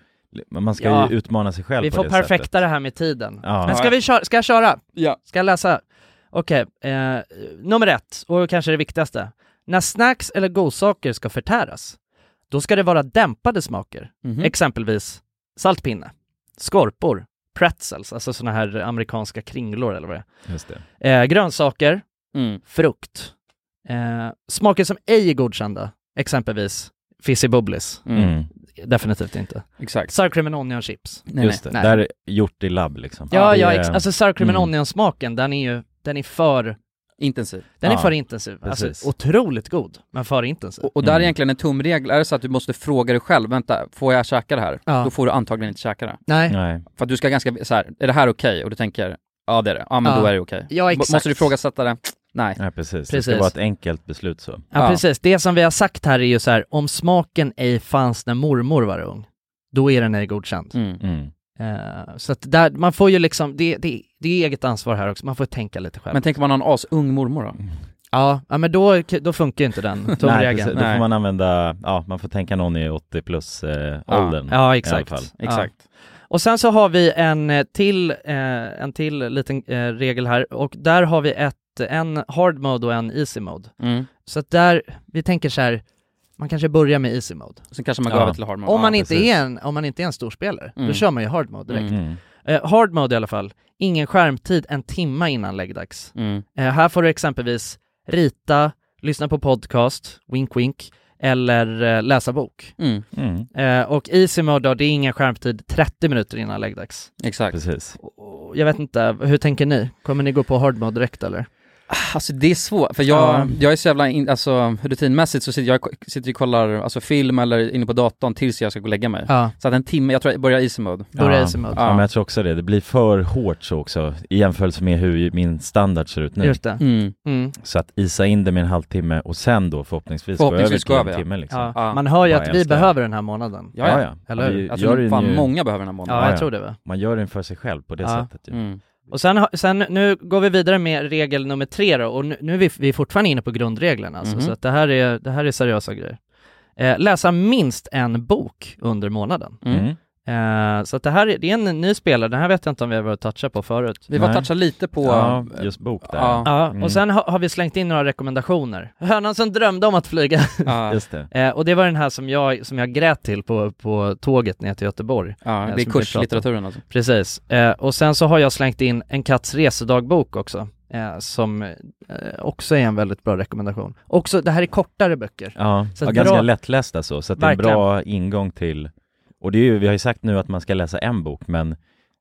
Speaker 3: man ska
Speaker 7: Ja.
Speaker 3: ju utmana sig själv
Speaker 7: Vi
Speaker 3: på
Speaker 7: får
Speaker 3: det
Speaker 7: perfekta
Speaker 3: sättet.
Speaker 7: det här med tiden.
Speaker 3: Ja.
Speaker 7: Men ska vi köra, ska jag köra?
Speaker 1: Ja.
Speaker 7: Ska jag läsa? Okej, eh, nummer ett, och kanske det viktigaste. När snacks eller godsaker ska förtäras, då ska det vara dämpade smaker. Exempelvis saltpinne, skorpor, pretzels, alltså såna här amerikanska kringlor eller vad det
Speaker 3: Just det.
Speaker 7: är. Eh, grönsaker,
Speaker 1: Mm.
Speaker 7: frukt. Eh, smaker som ej är godkända, exempelvis fizzy-bubblis,
Speaker 1: Mm.
Speaker 3: Mm.
Speaker 7: definitivt inte.
Speaker 1: Exakt.
Speaker 7: Sour cream and onion chips.
Speaker 1: Nej,
Speaker 3: Just
Speaker 1: nej.
Speaker 3: det,
Speaker 7: nej.
Speaker 3: där är gjort i labb liksom.
Speaker 7: Ja,
Speaker 3: Det
Speaker 7: ja,
Speaker 3: är-
Speaker 7: ex- alltså sour cream and
Speaker 3: Mm.
Speaker 7: onion-smaken, den är ju, den är för
Speaker 1: Intensiv.
Speaker 7: Den är
Speaker 3: Ja,
Speaker 7: för intensiv,
Speaker 3: precis.
Speaker 7: alltså otroligt god, men för intensiv.
Speaker 1: Och, och där är
Speaker 3: Mm.
Speaker 1: egentligen en tumregel, är det så att du måste fråga dig själv, vänta, får jag käka det här?
Speaker 7: Ja.
Speaker 1: Då får du antagligen inte käka det.
Speaker 7: Nej,
Speaker 3: Nej.
Speaker 1: För att du ska ganska, så här, är det här okej? Och du tänker, ja det är det, ja men
Speaker 7: Ja.
Speaker 1: då är det okej.
Speaker 7: Ja,
Speaker 1: M-
Speaker 7: exakt.
Speaker 1: Måste du ifrågasätta det? Nej.
Speaker 3: Nej precis. Det
Speaker 7: Precis.
Speaker 3: ska vara ett enkelt beslut så.
Speaker 7: Ja,
Speaker 1: Ja.
Speaker 7: precis, det som vi har sagt här är ju så här, om smaken ej fanns när mormor var ung, då är den ej godkänd.
Speaker 1: Mm.
Speaker 3: Mm.
Speaker 7: Eh, så att där, man får ju liksom, det, det, det är eget ansvar här också, man får tänka lite själv.
Speaker 1: Men tänker man ha en asung mormor
Speaker 7: Mm.
Speaker 1: då? Mm.
Speaker 7: ja, ja, men då, då funkar ju inte den
Speaker 3: Nej,
Speaker 7: tumregeln.
Speaker 3: precis. Då
Speaker 1: Nej.
Speaker 3: får man använda, ja man får tänka någon i 80 plus eh,
Speaker 1: Ja.
Speaker 3: åldern.
Speaker 7: Ja,
Speaker 3: I alla
Speaker 7: exakt.
Speaker 3: fall.
Speaker 1: Exakt.
Speaker 7: Och sen så har vi en eh, till, eh, en till liten eh, regel här och där har vi ett, en hard mode och en easy mode.
Speaker 1: Mm.
Speaker 7: Så att där, vi tänker så här, man kanske börjar med easy mode.
Speaker 1: Så kanske man går
Speaker 3: Ja.
Speaker 1: över till harmon.
Speaker 7: Om man, inte
Speaker 3: precis.
Speaker 7: är en, om man inte är en storspelare,
Speaker 1: Mm.
Speaker 7: då kör man ju hard mode direkt.
Speaker 3: Mm.
Speaker 7: Eh, hard mode i alla fall, ingen skärmtid en timma innan läggdags.
Speaker 1: Mm.
Speaker 7: Eh, här får du exempelvis rita, lyssna på podcast, wink wink, eller eh, läsa bok.
Speaker 1: Mm.
Speaker 3: Mm.
Speaker 7: Eh, och easy mode då, det är ingen skärmtid 30 minuter innan läggdags.
Speaker 1: Exakt.
Speaker 3: Precis.
Speaker 7: Och- och Jag vet inte, hur tänker ni? Kommer ni gå på hard mode direkt eller?
Speaker 1: Alltså det är svårt, för jag,
Speaker 7: Ja.
Speaker 1: jag är så jävla, in, alltså rutinmässigt så sitter jag sitter ju och kollar alltså, film eller inne på datorn tills jag ska gå och lägga mig.
Speaker 7: Ja,
Speaker 1: Så att en timme, jag tror jag börjar easy mode.
Speaker 7: börja
Speaker 3: Ja.
Speaker 7: easy mode.
Speaker 3: Ja. men jag tror också det. Det blir för hårt så också i jämförelse med hur min standard ser ut nu.
Speaker 7: Just det.
Speaker 1: Mm.
Speaker 7: Mm.
Speaker 3: Så att isa in det med en halvtimme och sen då förhoppningsvis,
Speaker 1: Förhoppningsvis
Speaker 3: gå
Speaker 1: går
Speaker 3: över
Speaker 1: över,
Speaker 3: till
Speaker 1: ja.
Speaker 3: en timme liksom.
Speaker 7: Ja.
Speaker 1: Ja.
Speaker 7: Man hör ju
Speaker 3: Ja,
Speaker 7: att
Speaker 3: jag
Speaker 7: vi
Speaker 3: älskar det.
Speaker 7: behöver den här månaden.
Speaker 1: Ja, ja.
Speaker 7: Eller hur?
Speaker 3: Vi
Speaker 1: Alltså, Jag
Speaker 3: gör
Speaker 1: tror
Speaker 3: den
Speaker 1: fan
Speaker 3: ju-
Speaker 1: många behöver den här månaden.
Speaker 7: Ja,
Speaker 3: Ja,
Speaker 7: jag
Speaker 3: ja.
Speaker 7: tror det. Va?
Speaker 3: Man gör den för sig själv på det
Speaker 7: Ja.
Speaker 3: sättet ju.
Speaker 1: Mm.
Speaker 7: Och sen, har- sen, nu går vi vidare med regel nummer tre då, och nu, nu är vi, vi är fortfarande inne på grundreglerna alltså,
Speaker 1: Mhm.
Speaker 7: så att det här är, det här är seriösa grejer. Eh, läsa minst en bok under månaden.
Speaker 1: Mm.
Speaker 3: Mm.
Speaker 7: Eh, så att det här är, det är en ny spelare, den här vet jag inte om vi har varit toucha på förut.
Speaker 1: Vi var
Speaker 3: Nej.
Speaker 1: toucha lite på...
Speaker 3: Ja, just bok där.
Speaker 1: Ja.
Speaker 7: Ja,
Speaker 3: Mm.
Speaker 7: och sen ha, har vi slängt in några rekommendationer. Hönan som drömde om att flyga.
Speaker 1: ja,
Speaker 3: Just det.
Speaker 7: Eh, och det var den här som jag, som jag grät till på, på tåget ner till Göteborg.
Speaker 1: ja,
Speaker 7: som
Speaker 1: det
Speaker 7: vi
Speaker 1: är kurslitteraturen alltså.
Speaker 7: Precis. Eh, och sen så har jag slängt in En katts resedagbok också, eh, som eh, också är en väldigt bra rekommendation. Också, det här är kortare böcker.
Speaker 3: Ja,
Speaker 7: Så
Speaker 3: ja
Speaker 7: att
Speaker 3: ganska
Speaker 7: bra-
Speaker 3: lättlästa så, så att det är en
Speaker 7: Verkligen.
Speaker 3: bra ingång till Och det är ju, vi har ju sagt nu att man ska läsa en bok men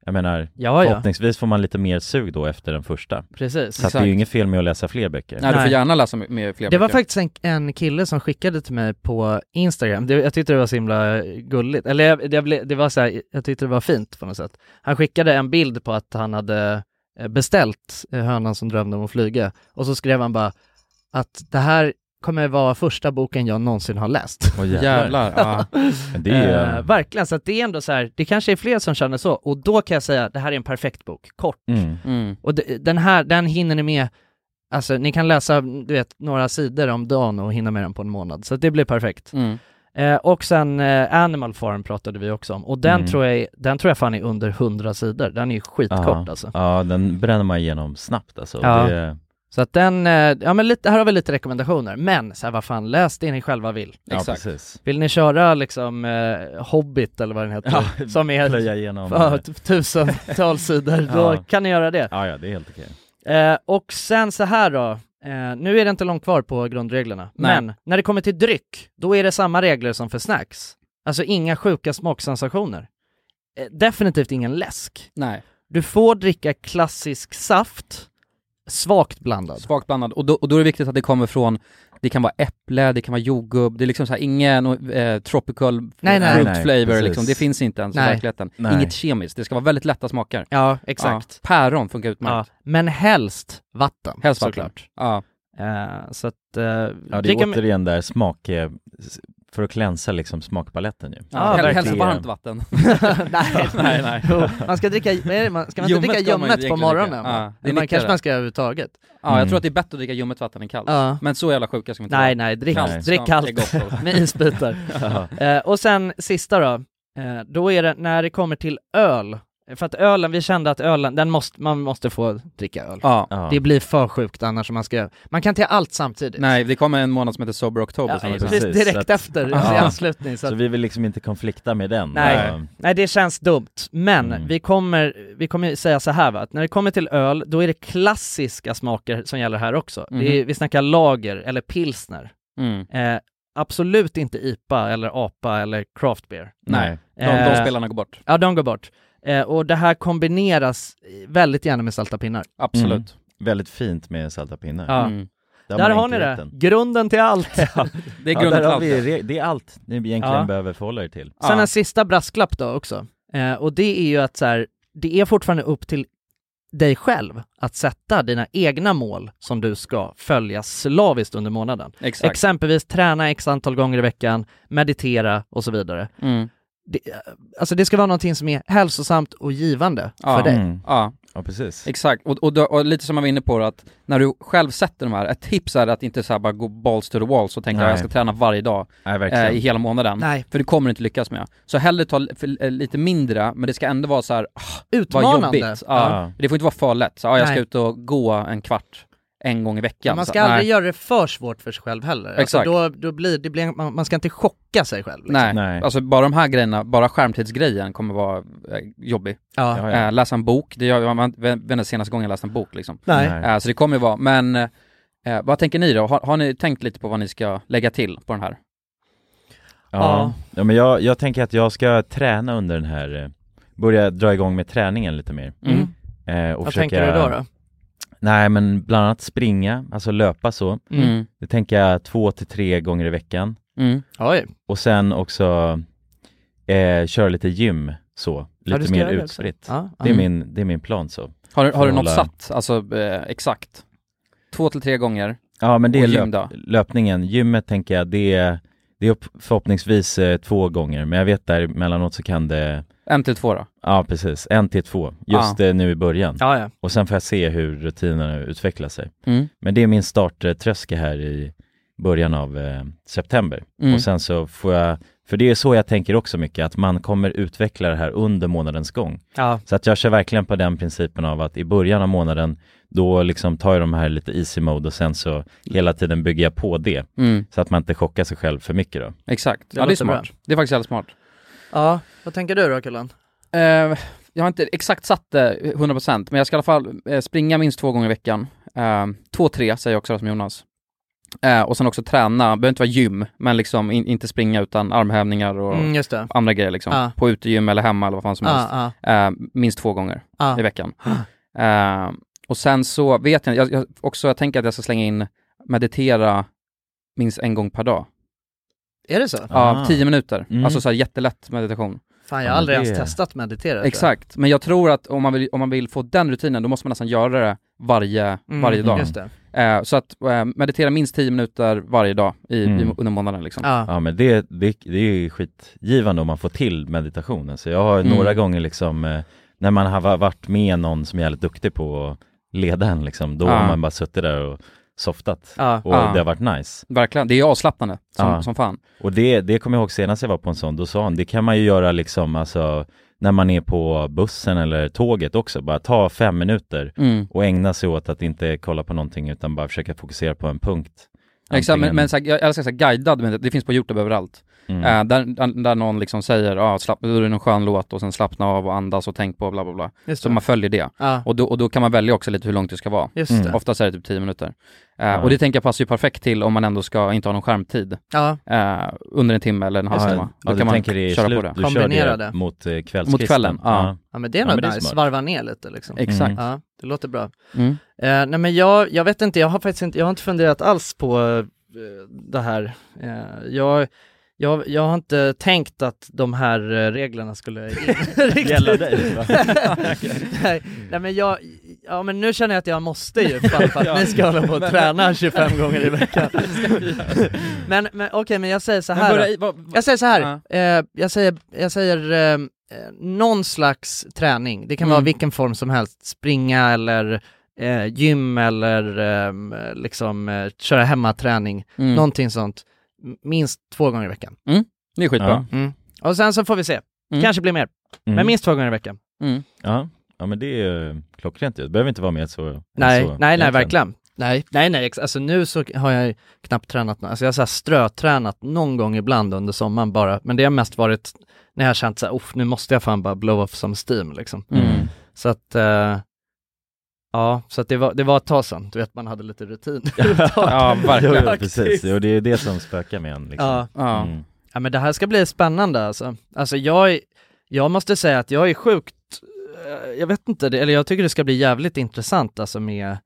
Speaker 3: Jag menar,
Speaker 7: Ja, ja,
Speaker 3: förhoppningsvis får man lite mer sug då efter den första
Speaker 7: precis.
Speaker 3: Så att det är ju inget fel med att läsa fler böcker
Speaker 1: Nej, du
Speaker 7: Nej.
Speaker 1: får gärna läsa med, med fler
Speaker 7: Det var
Speaker 1: böcker.
Speaker 7: faktiskt en, en kille som skickade till mig på Instagram, det, jag tyckte det var så himla gulligt, eller jag, det, blev- det var så här, jag tyckte det var fint på något sätt. Han skickade en bild på att han hade eh, beställt eh, Hönan som drömde om att flyga, och så skrev han bara att det här kommer vara första boken jag någonsin har läst.
Speaker 3: Åh,
Speaker 1: Jävlar, ja.
Speaker 3: Men det är ju, mm,
Speaker 7: Eh, verkligen, så att det är ändå så här, det kanske är fler som känner så, och då kan jag säga det här är en perfekt bok, kort.
Speaker 3: mm,
Speaker 1: Mm.
Speaker 7: Och de, den här, den hinner ni med, alltså ni kan läsa, du vet, några sidor om dagen och hinna med den på en månad, så att det blir perfekt.
Speaker 1: Mm.
Speaker 7: Eh, och sen eh, Animal Farm pratade vi också om, och den,
Speaker 3: Mm.
Speaker 7: tror jag, är- den tror jag fan är under 100 sidor, den är ju skitkort
Speaker 3: Ja.
Speaker 7: alltså.
Speaker 3: Ja, den bränner man igenom snabbt alltså
Speaker 7: Ja.
Speaker 3: det,
Speaker 7: Så att den, eh, ja men lite, här har vi lite rekommendationer, men så här, vad fan, läs det ni själva vill.
Speaker 3: ja,
Speaker 1: Exakt.
Speaker 3: precis
Speaker 7: Vill ni köra liksom eh, Hobbit eller vad den heter,
Speaker 3: Ja,
Speaker 7: som är
Speaker 3: Plöja igenom
Speaker 7: Ja, t- tusentals sidor, då
Speaker 3: Ja.
Speaker 7: kan ni göra det.
Speaker 3: Ja, ja, det är helt okej
Speaker 7: Eh, och sen så här då, eh, nu är det inte långt kvar på grundreglerna,
Speaker 1: Nej.
Speaker 7: men när det kommer till dryck, då är det samma regler som för snacks. Alltså inga sjuka smaksensationer. Eh, definitivt ingen läsk.
Speaker 1: Nej,
Speaker 7: Du får dricka klassisk saft, svagt blandad.
Speaker 1: svagt blandad. Och då, och då är det viktigt att det kommer från, det kan vara äpple, det kan vara jordgubb, det är liksom så här ingen eh, tropical
Speaker 7: Nej, nej.
Speaker 1: fruit
Speaker 3: Nej,
Speaker 1: flavor
Speaker 3: precis.
Speaker 1: liksom. Det finns inte ens
Speaker 7: Nej.
Speaker 1: i verkligheten.
Speaker 3: Nej.
Speaker 1: Inget kemiskt, det ska vara väldigt lätta smaker.
Speaker 7: Ja, exakt.
Speaker 1: Ja. Päron funkar
Speaker 7: Ja.
Speaker 1: utmärkt.
Speaker 7: Men helst vatten,
Speaker 1: Helst vatten.
Speaker 7: såklart.
Speaker 1: Ja.
Speaker 7: Eh, så att... eh,
Speaker 3: Ja, det är
Speaker 7: dricka med-
Speaker 3: återigen där smak, eh, s- för att klänsa liksom smakpaletten ju
Speaker 7: Ja,
Speaker 1: Ja. Hel-
Speaker 7: verkligen.
Speaker 1: helst varmt vatten.
Speaker 7: nej,
Speaker 1: Nej, nej.
Speaker 7: Jo, man ska dricka, vad är det man- ska man inte dricka
Speaker 1: Ljummet ska man ju
Speaker 7: ljummet på
Speaker 1: egentligen
Speaker 7: morgonen?
Speaker 1: dricka.
Speaker 7: va?
Speaker 1: Ja, det är
Speaker 7: man
Speaker 1: nyttigare.
Speaker 7: kanske man ska göra överhuvudtaget.
Speaker 1: Ja, jag
Speaker 3: Mm.
Speaker 1: tror att det är bättre att dricka ljummet vatten än kallt.
Speaker 7: Ja.
Speaker 1: Men så jävla sjuka ska vi inte
Speaker 7: Nej, nej, drick,
Speaker 1: Kallt
Speaker 3: Nej.
Speaker 7: drick
Speaker 1: ska- är
Speaker 7: kallt
Speaker 1: gott då.
Speaker 7: med isbitar.
Speaker 3: Ja.
Speaker 7: Eh, och sen sista då, eh, då är det när det kommer till öl. För att ölen, vi kände att ölen, den måste, man måste få dricka öl.
Speaker 1: Ja.
Speaker 3: Ja.
Speaker 7: Det blir för sjukt annars om man ska, man kan inte göra allt samtidigt.
Speaker 1: Nej, det kommer en månad som heter Sober October.
Speaker 7: ja,
Speaker 1: som vi
Speaker 7: precis,
Speaker 1: sa.
Speaker 3: precis,
Speaker 7: direkt
Speaker 3: så att-
Speaker 7: efter,
Speaker 3: Ja.
Speaker 7: i anslutning. Så
Speaker 3: Så
Speaker 7: att,
Speaker 3: vi vill liksom inte konflikta med den
Speaker 7: Nej.
Speaker 3: Ja.
Speaker 7: Nej det känns dumt, men
Speaker 3: Mm.
Speaker 7: vi kommer, vi kommer säga så här va, att när det kommer till öl, då är det klassiska smaker som gäller här också.
Speaker 1: Mhm.
Speaker 7: Det är, vi snackar lager eller pilsner.
Speaker 1: Mm.
Speaker 7: Eh, absolut inte IPA eller APA eller craft beer.
Speaker 1: Nej. De, de
Speaker 7: Eh,
Speaker 1: spelarna går bort.
Speaker 7: Ja, de går bort. Eh, och det här kombineras väldigt gärna med salta pinnar. Mm.
Speaker 1: Absolut.
Speaker 3: Väldigt fint med salta pinnar.
Speaker 7: Ja.
Speaker 1: Mm.
Speaker 3: Där,
Speaker 7: Där
Speaker 3: man
Speaker 7: har ni
Speaker 3: inte
Speaker 7: det,
Speaker 3: vet den.
Speaker 7: grunden till allt.
Speaker 1: Det är
Speaker 3: Ja,
Speaker 1: grunden
Speaker 3: där har
Speaker 1: till
Speaker 3: vi,
Speaker 1: allt.
Speaker 3: re- det är allt ni egentligen
Speaker 7: Ja.
Speaker 3: behöver förhålla er till.
Speaker 7: Sen
Speaker 1: Ja.
Speaker 7: en sista brasklapp då också. Eh, och det är ju att så här, det är fortfarande upp till dig själv att sätta dina egna mål som du ska följa slaviskt under månaden.
Speaker 1: Exakt.
Speaker 7: Exempelvis träna x antal gånger i veckan, meditera och så vidare.
Speaker 1: Mm.
Speaker 7: Det, alltså det ska vara någonting som är hälsosamt och givande
Speaker 1: Ja.
Speaker 7: för dig.
Speaker 3: Mm.
Speaker 1: Ja,
Speaker 3: Ja, precis.
Speaker 1: Exakt, och, och, då- och lite som man var inne på då, att när du själv sätter de här, ett tips är att inte så här bara gå balls to the walls och tänka
Speaker 3: Nej.
Speaker 1: att jag ska träna varje dag
Speaker 3: Nej,
Speaker 1: eh,
Speaker 3: verkligen.
Speaker 1: i hela månaden.
Speaker 7: Nej.
Speaker 1: För det kommer du inte lyckas med. Så hellre ta li- för, eh, lite mindre, men det ska ändå vara så här, ah, vad
Speaker 7: Utmanande.
Speaker 1: jobbigt. Ja. Det får inte vara för lätt, så, ah, jag ska
Speaker 7: Nej.
Speaker 1: ut och gå en kvart en gång i veckan.
Speaker 7: Man
Speaker 1: Så,
Speaker 7: ska aldrig
Speaker 1: nej.
Speaker 7: göra det för svårt för sig själv heller.
Speaker 1: Exakt.
Speaker 7: Alltså då, då blir, det blir, man, man ska inte chocka sig själv. liksom.
Speaker 1: Nej.
Speaker 3: Nej.
Speaker 1: alltså bara de här grejerna, bara skärmtidsgrejen kommer vara eh, jobbig.
Speaker 7: Ja.
Speaker 3: Ja, ja.
Speaker 1: Eh, läsa en bok, det gör man, vem vem är senaste gången jag läste en bok liksom?
Speaker 7: Nej.
Speaker 3: Nej.
Speaker 1: Eh, Så det kommer ju vara, men eh, vad tänker ni då? Har, har ni tänkt lite på vad ni ska lägga till på den här?
Speaker 7: Ja.
Speaker 3: Ja, ja men jag, jag tänker att jag ska träna under den här, eh, börja dra igång med träningen lite mer.
Speaker 7: Mm.
Speaker 3: Eh, och
Speaker 7: Vad
Speaker 3: försöka,
Speaker 7: tänker du då? då?
Speaker 3: Nej men bland annat springa, alltså löpa så.
Speaker 7: Mm.
Speaker 1: Mm.
Speaker 3: Det tänker jag två till tre gånger i veckan.
Speaker 1: Mm.
Speaker 7: Oj.
Speaker 3: Och sen också eh, köra lite gym så,
Speaker 7: Ja, du
Speaker 3: lite
Speaker 7: ska
Speaker 3: mer
Speaker 7: göra det också.
Speaker 3: utspritt.
Speaker 7: Ja,
Speaker 3: Det, är
Speaker 1: Mm.
Speaker 3: min, det är min plan så.
Speaker 1: Har, har du
Speaker 3: Får
Speaker 1: något
Speaker 3: hålla-
Speaker 1: satt, alltså eh, exakt? Två till tre gånger?
Speaker 3: Ja men det
Speaker 1: Och
Speaker 3: är
Speaker 1: gym
Speaker 3: löp,
Speaker 1: då?
Speaker 3: löpningen, gymmet tänker jag det är, det är upp- förhoppningsvis eh, två gånger men jag vet där emellanåt så kan det,
Speaker 1: En till två då?
Speaker 3: ja precis, en till två, just eh, nu i början.
Speaker 7: Ja, ja.
Speaker 3: Och sen får jag se hur rutinerna utvecklar sig.
Speaker 1: Mm.
Speaker 3: Men det är min starttröska här i början av eh, september.
Speaker 1: Mm.
Speaker 3: Och sen så får jag, för det är så jag tänker också mycket, att man kommer utveckla det här under månadens gång.
Speaker 7: ja.
Speaker 3: Så att jag kör verkligen på den principen av att i början av månaden, då liksom tar jag de här lite easy mode och sen så hela tiden bygger jag på det.
Speaker 1: Mm.
Speaker 3: Så att man inte chockar sig själv för mycket då.
Speaker 1: Exakt,
Speaker 7: Det
Speaker 1: ja det är
Speaker 7: låter
Speaker 1: smart. Det är faktiskt jävligt smart.
Speaker 7: Ja, vad tänker du då Kullen?
Speaker 1: Eh, jag har inte exakt satt det 100% men jag ska i alla fall eh, springa minst två gånger i veckan. Eh, två, tre säger jag också som Jonas. Eh, och sen också träna, behöver inte vara gym, men liksom in, inte springa utan armhävningar och
Speaker 7: Mm, just det. Ah,
Speaker 1: andra grejer liksom.
Speaker 7: Ja.
Speaker 1: På utegym eller hemma eller vad fan som helst.
Speaker 7: Ja,
Speaker 1: Eh, minst två gånger
Speaker 7: ja,
Speaker 1: i
Speaker 7: ja.
Speaker 1: veckan. Eh, och sen så vet jag, jag, jag också, jag tänker att jag ska slänga in meditera minst en gång per dag.
Speaker 7: Är det så?
Speaker 1: Ja,
Speaker 3: Ah.
Speaker 1: tio minuter.
Speaker 3: Mm.
Speaker 1: Alltså så här jättelätt meditation.
Speaker 7: Fan, jag
Speaker 3: Ja,
Speaker 7: har aldrig
Speaker 3: det-
Speaker 7: ens testat meditera. tror jag.
Speaker 1: Exakt, men jag tror att om man vill, om man vill få den rutinen, då måste man nästan göra det varje,
Speaker 7: Mm,
Speaker 1: varje dag.
Speaker 7: Just det.
Speaker 1: Eh, så att eh, meditera minst 10 minuter varje dag i,
Speaker 3: Mm.
Speaker 1: i, under månaden liksom.
Speaker 7: Ja.
Speaker 3: Ja men det, det, det är ju skitgivande om man får till meditationen. Så jag har
Speaker 1: Mm.
Speaker 3: några gånger liksom, eh, när man har va- varit med någon som är jävligt duktig på att leda en liksom, då
Speaker 1: Ja.
Speaker 3: har man bara suttit där och softat.
Speaker 7: Ja.
Speaker 3: Och
Speaker 1: Ja.
Speaker 3: det har varit nice.
Speaker 1: Verkligen, det är avslappnande som,
Speaker 3: Ja.
Speaker 1: som fan.
Speaker 3: Och det, det kommer jag ihåg senast jag var på en sån, då sa han, det kan man ju göra liksom, alltså när man är på bussen eller tåget också, bara ta fem minuter
Speaker 1: Mm.
Speaker 3: och ägna sig åt att inte kolla på någonting utan bara försöka fokusera på en punkt.
Speaker 1: Exakt, men,
Speaker 3: Antingen-
Speaker 1: men så här, jag älskar så här guidad, men det- det finns på Youtube överallt.
Speaker 3: Mm.
Speaker 1: Eh, där, där, där någon liksom säger, ja, slapp, då är det någon skön låt och sen slappna av och andas och tänk på bla bla bla.
Speaker 7: Just
Speaker 1: Så
Speaker 7: det.
Speaker 1: man följer det.
Speaker 7: Ja,
Speaker 1: Och då, och då kan man välja också lite hur långt det ska vara.
Speaker 7: just
Speaker 3: Mm.
Speaker 7: det.
Speaker 1: Oftast är det typ 10 minuter. Eh,
Speaker 3: Ja.
Speaker 1: Och det tänker jag passar ju perfekt till om man ändå ska inte ha någon skärmtid.
Speaker 7: Ja,
Speaker 1: eh, under en timme eller en halvtimme. då
Speaker 3: Alltså, ja,
Speaker 1: kan
Speaker 3: du
Speaker 1: man
Speaker 3: tänker det i
Speaker 1: köra
Speaker 3: slut,
Speaker 1: på det.
Speaker 3: du kör
Speaker 7: Kombinera
Speaker 3: det
Speaker 7: det.
Speaker 3: mot eh, kvällskvisten.
Speaker 1: Mot kvällen, ja.
Speaker 7: ja men det är
Speaker 3: Ja,
Speaker 7: nog
Speaker 3: men det är
Speaker 7: nice.
Speaker 3: smart.
Speaker 7: Varva ner lite liksom.
Speaker 1: Exakt.
Speaker 3: Mm.
Speaker 7: Ja, det låter bra.
Speaker 1: Mm.
Speaker 7: Eh, nej men jag, jag vet inte, jag har faktiskt inte, jag har inte funderat alls på eh, det här. Eh, jag, jag, jag har inte tänkt att de här eh, reglerna skulle riktigt-
Speaker 3: Gälla dig, va?
Speaker 7: nej, nej men jag, ja men nu känner jag att jag måste ju för, för att ni ska hålla på och träna 25 gånger i veckan. men men okej, men jag säger så här då. Jag säger så här, eh, jag säger, jag säger eh, eh, någon slags träning, det kan vara
Speaker 1: Mm.
Speaker 7: vilken form som helst, springa eller eh, gym eller eh, liksom eh, köra hemmaträning,
Speaker 1: Mm.
Speaker 7: någonting sånt, M- minst två gånger i veckan.
Speaker 1: Det är skitbra.
Speaker 7: Och sen så får vi se,
Speaker 1: Mm.
Speaker 7: kanske blir mer,
Speaker 3: Mm.
Speaker 7: men minst två gånger i veckan.
Speaker 1: Mm.
Speaker 3: Ja, ja men det är ju klockrent ju. Det behöver inte vara mer så.
Speaker 7: Nej,
Speaker 3: så,
Speaker 7: nej, nej,
Speaker 3: Alltså, egentligen.
Speaker 7: verkligen. Nej, nej, nej, ex- alltså nu så har jag knappt tränat, nå- alltså jag har så här strötränat någon gång ibland under sommaren bara, men det har mest varit när jag har känt så här, "Uff, nu måste jag fan bara blow off som steam liksom.
Speaker 1: Mm.
Speaker 7: Så att, eh, ja, så att det var, det var ett tag sedan, du vet man hade lite rutin.
Speaker 1: Ja,
Speaker 3: Jo,
Speaker 1: verkligen.
Speaker 3: jo, precis. Jo, det är det som spökar med en liksom.
Speaker 7: ja.
Speaker 1: Ja.
Speaker 3: Mm.
Speaker 7: ja, men det här ska bli spännande alltså. Alltså jag, är- jag måste säga att jag är sjukt, eh, jag vet inte, det- eller jag tycker det ska bli jävligt intressant alltså med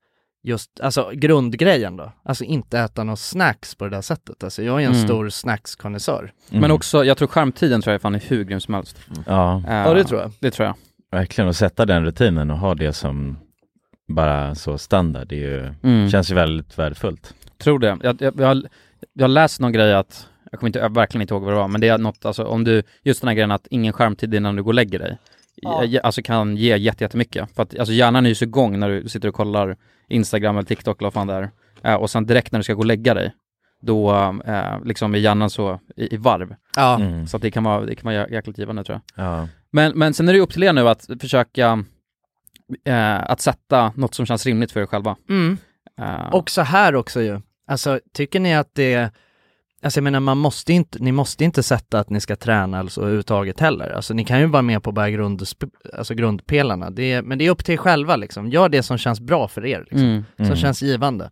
Speaker 7: just, alltså grundgrejen då. Alltså inte äta några snacks på det där sättet. Alltså jag är en
Speaker 1: Mm.
Speaker 7: stor snackskonnässör.
Speaker 3: Mm.
Speaker 1: Men också, jag tror skärmtiden tror jag fan är hur grym som helst.
Speaker 3: Ja,
Speaker 1: Eh,
Speaker 7: Ja, det tror jag.
Speaker 1: Det tror jag.
Speaker 3: verkligen. Och sätta den rutinen och ha det som bara så standard, det är ju,
Speaker 1: Mm.
Speaker 3: känns ju väldigt värdefullt.
Speaker 1: Tror det. Jag, jag, jag, har- jag har läst någon grej att, jag kommer inte, jag verkligen inte ihåg vad det var, men det är något, alltså om du, just den här grejen att ingen skärmtid innan du går och lägger dig, ja. alltså kan ge jätte- jättemycket. För att alltså hjärnan är ju så igång när du sitter och kollar Instagram eller TikTok eller vad fan det är. Eh, och sen direkt när du ska gå och lägga dig, då eh, liksom är hjärnan så i, i varv.
Speaker 7: Ja.
Speaker 3: Mm.
Speaker 1: Så att det kan vara, det kan vara jä- jäkligt givande tror jag.
Speaker 3: Ja.
Speaker 1: Men, men sen är det ju upp till er nu att försöka eh, att sätta något som känns rimligt för er själva.
Speaker 7: Mm.
Speaker 1: Eh,
Speaker 7: Och så här också ju. Alltså tycker ni att det, alltså jag menar man måste inte, ni måste inte sätta att ni ska träna eller så överhuvudtaget heller. Alltså ni kan ju vara med på bara grund, alltså grundpelarna. Det är, men det är upp till er själva liksom. Gör det som känns bra för er, liksom.
Speaker 1: mm.
Speaker 7: som
Speaker 3: Mm.
Speaker 7: känns givande.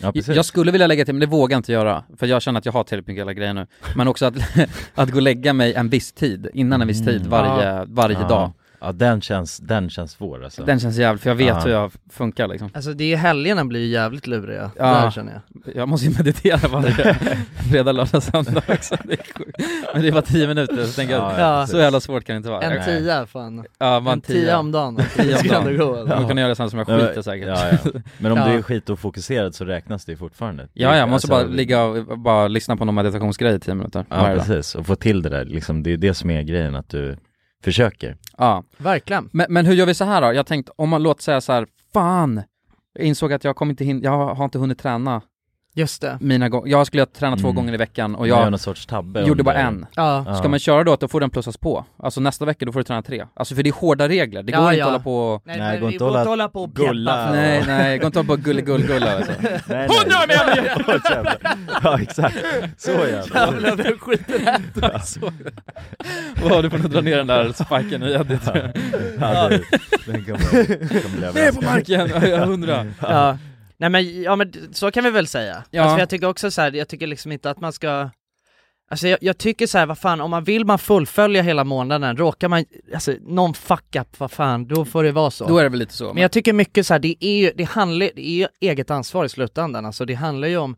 Speaker 3: Ja, precis.
Speaker 1: Jag skulle vilja lägga till, men det vågar jag inte göra, för jag känner att jag har tillräckligt mycket alla grejer nu. Men också att, att gå och lägga mig en viss tid, innan en viss tid,
Speaker 3: Mm.
Speaker 1: varje, varje
Speaker 3: ja.
Speaker 1: dag.
Speaker 3: Ja, den känns, den känns svår alltså.
Speaker 1: Den känns jävligt, för jag vet
Speaker 3: Ja.
Speaker 1: hur jag funkar liksom.
Speaker 7: Alltså det är helgerna blir ju jävligt luriga,
Speaker 1: Ja.
Speaker 7: där känner jag.
Speaker 1: Jag måste ju meditera varje fredag, lördag, söndag också. Det är sjukt. Men det var tio minuter, så tänker jag,
Speaker 7: Ja.
Speaker 1: så jävla svårt kan det inte vara.
Speaker 7: En
Speaker 1: Jag-
Speaker 7: tia fan.
Speaker 1: Ja, man
Speaker 7: En tia om dagen.
Speaker 1: Tia om
Speaker 7: Ska
Speaker 1: dagen.
Speaker 7: det gå, eller?
Speaker 1: Man kan göra sånt som jag skiter säkert.
Speaker 3: Ja, ja. Men om
Speaker 7: Ja.
Speaker 3: du är skitofokuserad så räknas det ju fortfarande.
Speaker 1: Ja, ja, man måste
Speaker 3: Alltså,
Speaker 1: bara ligga och bara lyssna på någon meditationsgrej i tio minuter.
Speaker 3: Ja,
Speaker 1: varje dag.
Speaker 3: precis. Och få till det där liksom, det är det som är grejen, att du försöker.
Speaker 1: Ja.
Speaker 7: Verkligen.
Speaker 1: Men, men hur gör vi så här då? Jag tänkte, om man låter säga så här, fan! Jag insåg att jag kommer inte hin- jag har inte hunnit träna
Speaker 7: Just det.
Speaker 1: mina gånger. Jag skulle träna två
Speaker 3: Mm.
Speaker 1: gånger i veckan och
Speaker 3: Och jag gör
Speaker 1: jag
Speaker 3: någon sorts tabbe
Speaker 1: gjorde
Speaker 3: under-
Speaker 1: bara en.
Speaker 7: Ja.
Speaker 3: Ja.
Speaker 1: Ska man köra då att då får den plussas på? Alltså nästa vecka då får du träna tre. Alltså för det är hårda regler, det
Speaker 7: Ja,
Speaker 1: går inte
Speaker 7: ja.
Speaker 1: att hålla på och...
Speaker 3: Nej, men går vi inte går hålla- inte
Speaker 7: på
Speaker 3: och peta. gulla. Ja.
Speaker 1: Nej, nej, det går inte att hålla på och gulligull-gulla alltså.
Speaker 3: Nej, nej. Hundra meter! ja, exakt. Så jävla.
Speaker 1: Vad har du för att dra ner den där spiken i? Ja, det tror jag.
Speaker 3: Ja, det, den kommer, kommer bli
Speaker 1: Ner på
Speaker 3: överraskad.
Speaker 1: marken! Ja, jag hundra.
Speaker 7: Ja. Nej men, ja men d- så kan vi väl säga.
Speaker 1: Ja.
Speaker 7: Alltså, för jag tycker också så här, jag tycker liksom inte att man ska Alltså jag, jag tycker så här, vad fan, om man vill man fullfölja hela månaden, råkar man, alltså någon fuck up, vad fan, då får det vara så.
Speaker 1: Då är det väl lite så.
Speaker 7: Men jag tycker mycket så här, det är ju, det handlar, det är ju eget ansvar i slutändan, alltså det handlar ju om,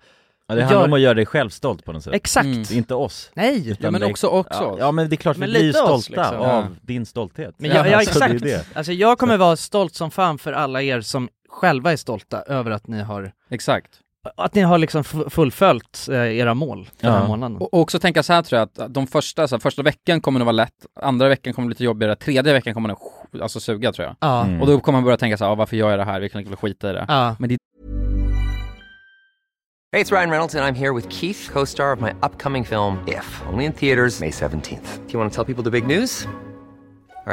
Speaker 3: Ja, det handlar
Speaker 7: Gör-
Speaker 3: om att göra dig själv stolt på något sätt.
Speaker 7: exakt,
Speaker 1: Mm.
Speaker 3: Inte oss.
Speaker 7: nej!
Speaker 1: ja, men
Speaker 3: det-
Speaker 1: också, också.
Speaker 3: Ja, ja men det är klart,
Speaker 7: Men
Speaker 3: vi blir ju
Speaker 7: lite
Speaker 3: stolta
Speaker 7: oss, liksom.
Speaker 3: av
Speaker 1: Ja.
Speaker 3: din stolthet.
Speaker 7: Men jag,
Speaker 1: Ja,
Speaker 7: ja,
Speaker 3: alltså, det är ju
Speaker 7: exakt,
Speaker 3: det.
Speaker 7: alltså jag kommer vara stolt som fan för alla er som själva är stolta över att ni har,
Speaker 1: Exakt.
Speaker 7: att ni har liksom fu- fullföljt eh, era mål den här
Speaker 3: Ja.
Speaker 7: månaden.
Speaker 1: Och och också tänka så här tror jag, att de första, så här, första veckan kommer det vara lätt, andra veckan kommer det lite jobbigare, tredje veckan kommer det sj- alltså, suga tror jag.
Speaker 7: ja.
Speaker 3: Mm.
Speaker 1: Och då kommer man börja tänka så här, ah, varför gör jag det här? Vi kan väl skita i det.
Speaker 7: Ja.
Speaker 1: Men det är
Speaker 9: Hey, it's Ryan Reynolds, and I'm here with Keith, co star of my upcoming film, If, only in theaters, May 17th. Do you want to tell people the big news? All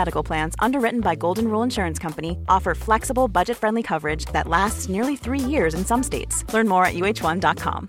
Speaker 5: Medical Plans, underwritten by Golden Rule Insurance Company, offer flexible, budget friendly coverage that lasts nearly three years in some states. Learn more at uh1.com.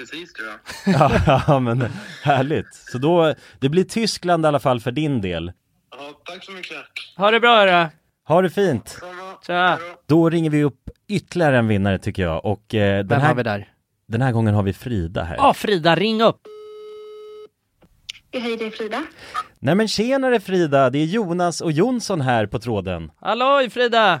Speaker 10: precis tror jag.
Speaker 3: ja men härligt. Så då, det blir Tyskland i alla fall för din del.
Speaker 7: Ha det bra hörru.
Speaker 3: Ha det fint!
Speaker 7: Tja.
Speaker 3: Då ringer vi upp ytterligare en vinnare tycker jag och eh, den,
Speaker 7: Vem
Speaker 3: här,
Speaker 7: har vi där?
Speaker 3: den här gången har vi Frida här.
Speaker 7: Ja Frida, ring upp.
Speaker 11: Hej, det är Frida.
Speaker 3: Nej men tjenare Frida, det är Jonas och Jonsson här på tråden.
Speaker 7: Halloj Frida!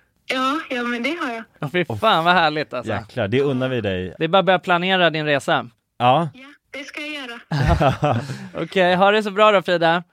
Speaker 11: Ja, ja men det har jag.
Speaker 7: Ja. Fy fan vad härligt alltså.
Speaker 3: Jäklar, det unnar vi dig.
Speaker 7: Det är bara att börja planera din resa.
Speaker 3: Ja.
Speaker 11: Det ska jag göra.
Speaker 7: Okej, ha det så bra då Frida.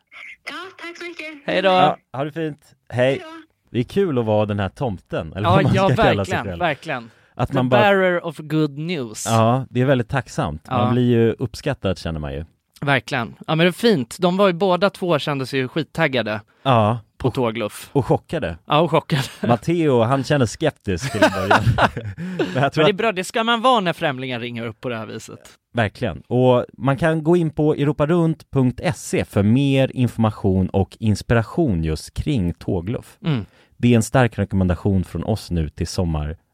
Speaker 11: Tack så mycket.
Speaker 7: Hej då.
Speaker 3: ja ha det fint. Hej. Det är kul att vara den här tomten, eller
Speaker 7: Ja,
Speaker 3: vad man ska
Speaker 7: ja
Speaker 3: kalla sig
Speaker 7: verkligen,
Speaker 3: själv.
Speaker 7: verkligen.
Speaker 3: Att
Speaker 7: The
Speaker 3: man bara-
Speaker 7: bearer of good news.
Speaker 3: Ja, det är väldigt tacksamt.
Speaker 7: Ja.
Speaker 3: Man blir ju uppskattad känner man ju.
Speaker 7: Verkligen. Ja men det är fint. De var ju båda två kände sig ju skittaggade.
Speaker 3: Ja.
Speaker 7: På tågluff.
Speaker 3: Och chockade.
Speaker 7: Ja, och chockade.
Speaker 3: Matteo, han känner skeptisk till en början. Men jag tror
Speaker 7: Men det är
Speaker 3: att-
Speaker 7: bra, det ska man vara när främlingar ringer upp på det här viset.
Speaker 3: Verkligen. Och man kan gå in på europarunt.se E för mer information och inspiration just kring tågluff.
Speaker 7: Mm.
Speaker 3: Det är en stark rekommendation från oss nu till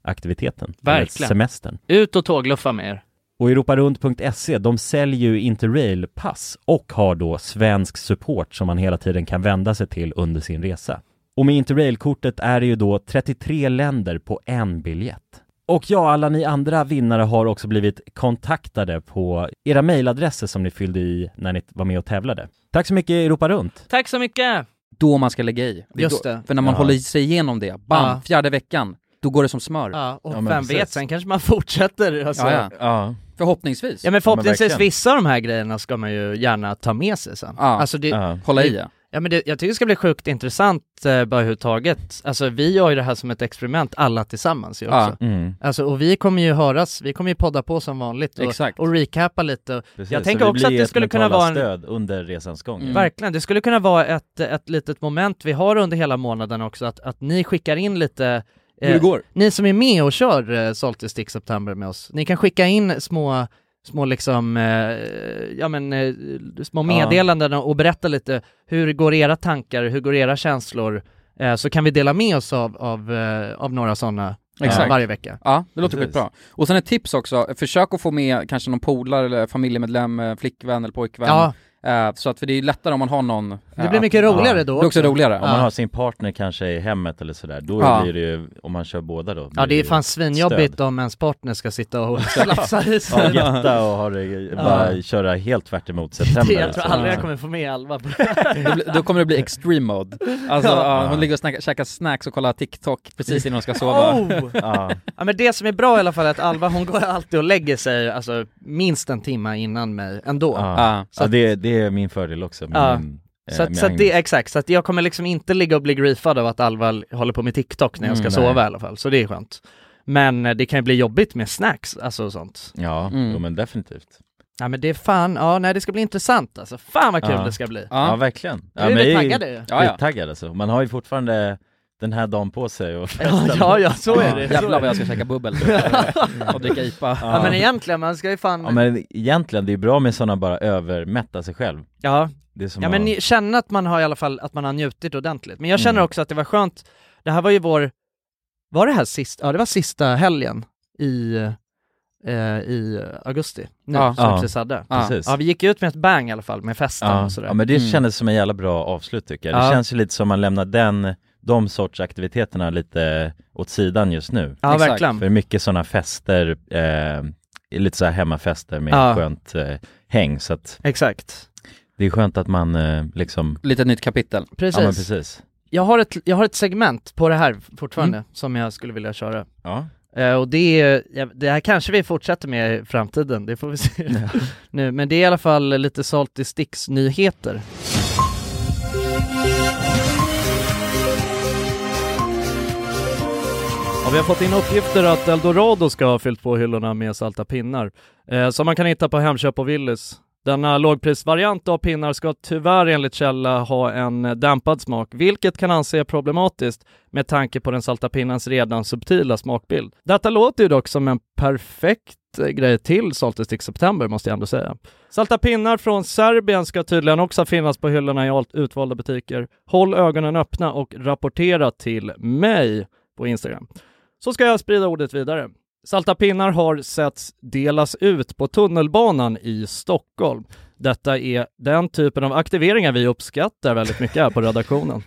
Speaker 3: sommaraktiviteten. eller
Speaker 7: Verkligen.
Speaker 3: Semestern.
Speaker 7: Ut och tågluffa med er.
Speaker 3: Och europarunt.se, E, de säljer ju Interrail-pass och har då svensk support som man hela tiden kan vända sig till under sin resa. Och med Interrail-kortet är det ju då 33 länder på en biljett. Och ja, alla ni andra vinnare har också blivit kontaktade på era mejladresser som ni fyllde i när ni var med och tävlade. Tack så mycket Europa Runt!
Speaker 7: Tack så mycket!
Speaker 1: Då man ska lägga i. är
Speaker 7: Just
Speaker 1: då,
Speaker 7: det.
Speaker 1: För när man
Speaker 7: Ja.
Speaker 1: håller sig igenom det, bam,
Speaker 7: Ja.
Speaker 1: fjärde veckan, då går det som smör.
Speaker 7: Ja, och vem vet, sen kanske man fortsätter. Alltså.
Speaker 1: Ja, ja. Förhoppningsvis.
Speaker 7: Ja men förhoppningsvis
Speaker 1: verkligen.
Speaker 7: vissa av de här grejerna ska man ju gärna ta med sig sen. Alltså,
Speaker 1: Ja,
Speaker 7: det,
Speaker 1: ja. hålla i,
Speaker 7: det-
Speaker 1: ja.
Speaker 7: Ja men det, jag tycker det ska bli sjukt intressant eh, bara överhuvudtaget. Alltså vi gör ju det här som ett experiment alla tillsammans ju
Speaker 1: Ja.
Speaker 7: också.
Speaker 1: Mm.
Speaker 7: Alltså och vi kommer ju höras, vi kommer ju podda på som vanligt och,
Speaker 3: Exakt.
Speaker 7: och recapa lite.
Speaker 3: Precis,
Speaker 7: jag
Speaker 3: så
Speaker 7: tänker
Speaker 3: vi
Speaker 7: också att
Speaker 3: blir
Speaker 7: det
Speaker 3: ett
Speaker 7: skulle kunna
Speaker 3: mentala
Speaker 7: vara en... Mm.
Speaker 3: stöd under resans gång.
Speaker 1: Mm.
Speaker 3: Mm.
Speaker 7: Verkligen, det skulle kunna vara ett, ett litet moment vi har under hela månaden också, att, att ni skickar in lite eh,
Speaker 1: Hur det går.
Speaker 7: Ni som är med och kör eh, Salt and Stick September med oss, ni kan skicka in små, små liksom, eh, ja men, eh, små meddelanden och berätta lite, hur går era tankar, hur går era känslor, eh, så kan vi dela med oss av, av, eh, av några sådana eh,
Speaker 1: Exakt.
Speaker 7: varje vecka.
Speaker 1: Ja, det låter
Speaker 7: Precis.
Speaker 1: skitbra. Och sen ett tips också, försök att få med kanske någon polare eller familjemedlem, eh, flickvän eller pojkvän.
Speaker 7: Ja.
Speaker 1: Eh, Så att, för det är lättare om man har någon. eh, att- Ja. Det blir också roligare.
Speaker 3: Om man har sin partner kanske i hemmet eller sådär, då
Speaker 1: Ja.
Speaker 3: blir det ju, om man kör båda då
Speaker 7: Ja
Speaker 3: blir
Speaker 7: det är
Speaker 3: ju
Speaker 7: fan
Speaker 3: stöd.
Speaker 7: svinjobbigt om ens partner ska sitta och slafsa i
Speaker 3: Ja,
Speaker 7: sig.
Speaker 3: jätta och ha det, bara
Speaker 7: Ja.
Speaker 3: köra helt tvärt emot
Speaker 7: Det,
Speaker 3: september alltså.
Speaker 7: jag tror aldrig jag
Speaker 3: Ja.
Speaker 7: kommer få med Alva på
Speaker 1: Då blir- då kommer det bli extreme mode. Alltså,
Speaker 7: Ja.
Speaker 1: ja, hon ligger och snacka, käkar snacks och kollar TikTok precis innan hon ska sova.
Speaker 7: Oh! Ja. men det som är bra i alla fall är att Alva hon går alltid och lägger sig alltså minst en timme innan mig ändå.
Speaker 3: Ja,
Speaker 7: Så
Speaker 3: ja
Speaker 7: att,
Speaker 3: det, det är min fördel också med
Speaker 7: Ja.
Speaker 3: min, eh,
Speaker 7: så att,
Speaker 3: med
Speaker 7: så att
Speaker 3: Agnes.
Speaker 7: det, exakt, så att jag kommer liksom inte ligga och bli griefad av att Alva l- håller på med TikTok när jag ska
Speaker 3: Mm, nej.
Speaker 7: sova i alla fall, så det är skönt. Men eh, det kan ju bli jobbigt med snacks, alltså och sånt.
Speaker 3: Ja,
Speaker 7: Mm.
Speaker 3: jo, men definitivt.
Speaker 7: Ja men det är fan, ja nej det ska bli intressant alltså. Fan vad kul
Speaker 3: ja.
Speaker 7: det ska bli.
Speaker 3: Ja, verkligen.
Speaker 7: Nu är vi taggade ju.
Speaker 3: Ja, ja. taggade alltså. Man har ju fortfarande den här dagen på sig och
Speaker 7: Ja, ja, ja, så är det. Så
Speaker 1: Jävlar
Speaker 7: är
Speaker 1: vad jag ska
Speaker 7: det.
Speaker 1: käka bubbel och dricka IPA.
Speaker 7: Ja men egentligen, man ska ju fan
Speaker 3: Ja men egentligen, det är bra med sådana bara övermätta sig själv.
Speaker 7: Ja.
Speaker 3: Det är som
Speaker 7: Ja
Speaker 3: att-
Speaker 7: men ni- känna att man har i alla fall, att man har njutit ordentligt. Men jag känner
Speaker 3: Mm.
Speaker 7: också att det var skönt, det här var ju vår, var det här sista, ja det var sista helgen i, eh, i augusti, nu,
Speaker 3: Ja.
Speaker 7: som
Speaker 3: Ja,
Speaker 7: vi precis hade.
Speaker 3: precis.
Speaker 7: Ja vi gick ju ut med ett bang i alla fall, med festen
Speaker 3: ja.
Speaker 7: och sådär.
Speaker 3: ja men det kändes som en jävla bra avslut tycker jag.
Speaker 7: Ja.
Speaker 3: Det känns ju lite som man lämnar den, de sorts aktiviteterna lite åt sidan just nu.
Speaker 7: Ja, Exakt. verkligen.
Speaker 3: För mycket sådana fester, eh, lite så här hemmafester med
Speaker 7: Ja.
Speaker 3: skönt eh, häng så att
Speaker 7: Exakt.
Speaker 3: Det är skönt att man eh, liksom
Speaker 1: Lite nytt kapitel.
Speaker 7: Precis.
Speaker 3: Ja men precis.
Speaker 7: Jag har, ett, jag har ett segment på det här fortfarande
Speaker 3: Mm.
Speaker 7: som jag skulle vilja köra.
Speaker 3: Ja.
Speaker 7: Eh, och det, är, ja, det här kanske vi fortsätter med i framtiden, det får vi se nu. Men det är i alla fall lite salt i sticks nyheter. Ja, vi har fått in uppgifter att Eldorado ska ha fyllt på hyllorna med salta pinnar, eh, som man kan hitta på Hemköp och Willys. Denna lågprisvariant av pinnar ska tyvärr enligt källa ha en eh, dämpad smak, vilket kan anses problematiskt med tanke på den salta pinnans redan subtila smakbild. Detta låter ju dock som en perfekt eh, grej till Salted Stick September måste jag ändå säga. Salta pinnar från Serbien ska tydligen också finnas på hyllorna i allt utvalda butiker. Håll ögonen öppna och rapportera till mig på Instagram. Så ska jag sprida ordet vidare. Salta pinnar har setts delas ut på tunnelbanan i Stockholm. Detta är den typen av aktiveringar vi uppskattar väldigt mycket här på redaktionen.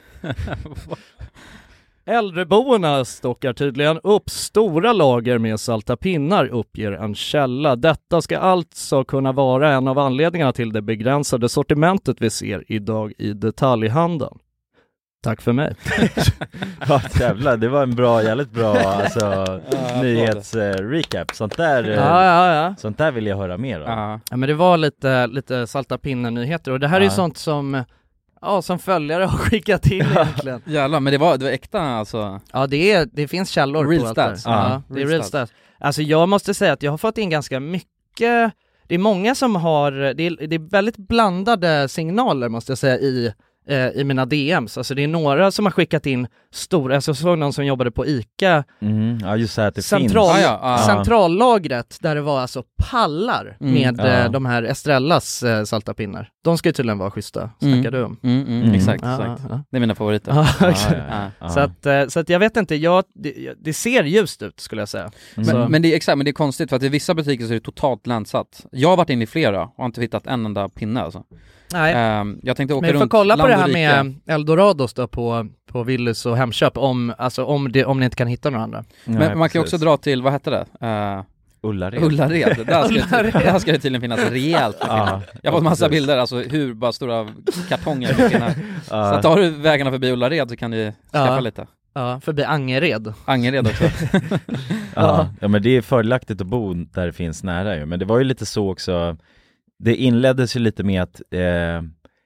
Speaker 7: Äldreboendena stockar tydligen upp stora lager med salta pinnar, uppger en källa. Detta ska alltså kunna vara en av anledningarna till det begränsade sortimentet vi ser idag i detaljhandeln. Tack för mig.
Speaker 3: Ja jävlar, det var en bra, jävligt bra alltså,
Speaker 7: applåder.
Speaker 3: nyhetsrecap. sånt där, eh,
Speaker 7: Ja, ja, ja.
Speaker 3: sånt där vill jag höra mer om.
Speaker 7: Ja men det var lite, lite salta pinnen-nyheter och det här är ju
Speaker 1: Ja.
Speaker 7: sånt som, ja som följare har skickat in egentligen.
Speaker 1: Jävlar, men det var, det var äkta alltså.
Speaker 7: Ja det, är, det finns källor
Speaker 1: Real
Speaker 7: på allt det här.
Speaker 1: stats.
Speaker 7: Ja,
Speaker 1: Ja.
Speaker 7: det är
Speaker 1: Real
Speaker 7: real stats. Alltså jag måste säga att jag har fått in ganska mycket, det är många som har, det är, det är väldigt blandade signaler måste jag säga i, eh, i mina DMs. Alltså det är några som har skickat in stora, alltså jag såg någon som jobbade på ICA
Speaker 3: Mm, ja just det här att det
Speaker 7: Central,
Speaker 3: finns. Ja, ja.
Speaker 7: centrallagret där det var alltså pallar
Speaker 1: Mm,
Speaker 7: med
Speaker 1: ja.
Speaker 7: eh, de här Estrellas eh, salta pinnar. De ska ju tydligen vara schyssta, snackar du om.
Speaker 1: Mm, mm,
Speaker 7: Mm.
Speaker 1: Exakt,
Speaker 7: Ja,
Speaker 1: exakt.
Speaker 7: ja, ja.
Speaker 1: Det är mina favoriter.
Speaker 7: Ja, exakt.
Speaker 1: Ja.
Speaker 7: Så, att, eh, så att jag vet inte, jag, det, det ser ljust ut skulle jag säga. Så-
Speaker 3: Mm.
Speaker 1: Men, men det är exakt, men det är konstigt för att i vissa butiker så är det totalt länsat. Jag har varit inne i flera och har inte hittat en enda pinne alltså.
Speaker 7: Nej.
Speaker 1: Ehm, jag tänkte åka
Speaker 7: Men vi får
Speaker 1: runt
Speaker 7: kolla på
Speaker 1: land
Speaker 7: det
Speaker 1: och
Speaker 7: här
Speaker 1: rike.
Speaker 7: med Eldorados då på, på Willys och Hemköp om, alltså om, det, om ni inte kan hitta några andra.
Speaker 1: Men man kan ju också dra till, vad hette det? Eh,
Speaker 3: Ullared.
Speaker 1: Ullared, där ska,
Speaker 7: Ullared.
Speaker 1: Det, där ska det tydligen finnas rejält med
Speaker 3: Ja,
Speaker 1: pinnar. Jag har fått massa
Speaker 3: precis.
Speaker 1: bilder, alltså hur bara stora kartonger med pinnar. Så
Speaker 3: Ja.
Speaker 1: att tar du vägarna förbi Ullared så kan du skaffa
Speaker 7: Ja.
Speaker 1: lite.
Speaker 7: Ja, förbi Angered.
Speaker 1: Angered också.
Speaker 3: Ja. ja men det är fördelaktigt att bo där det finns nära ju, men det var ju lite så också, det inleddes ju lite med att, eh,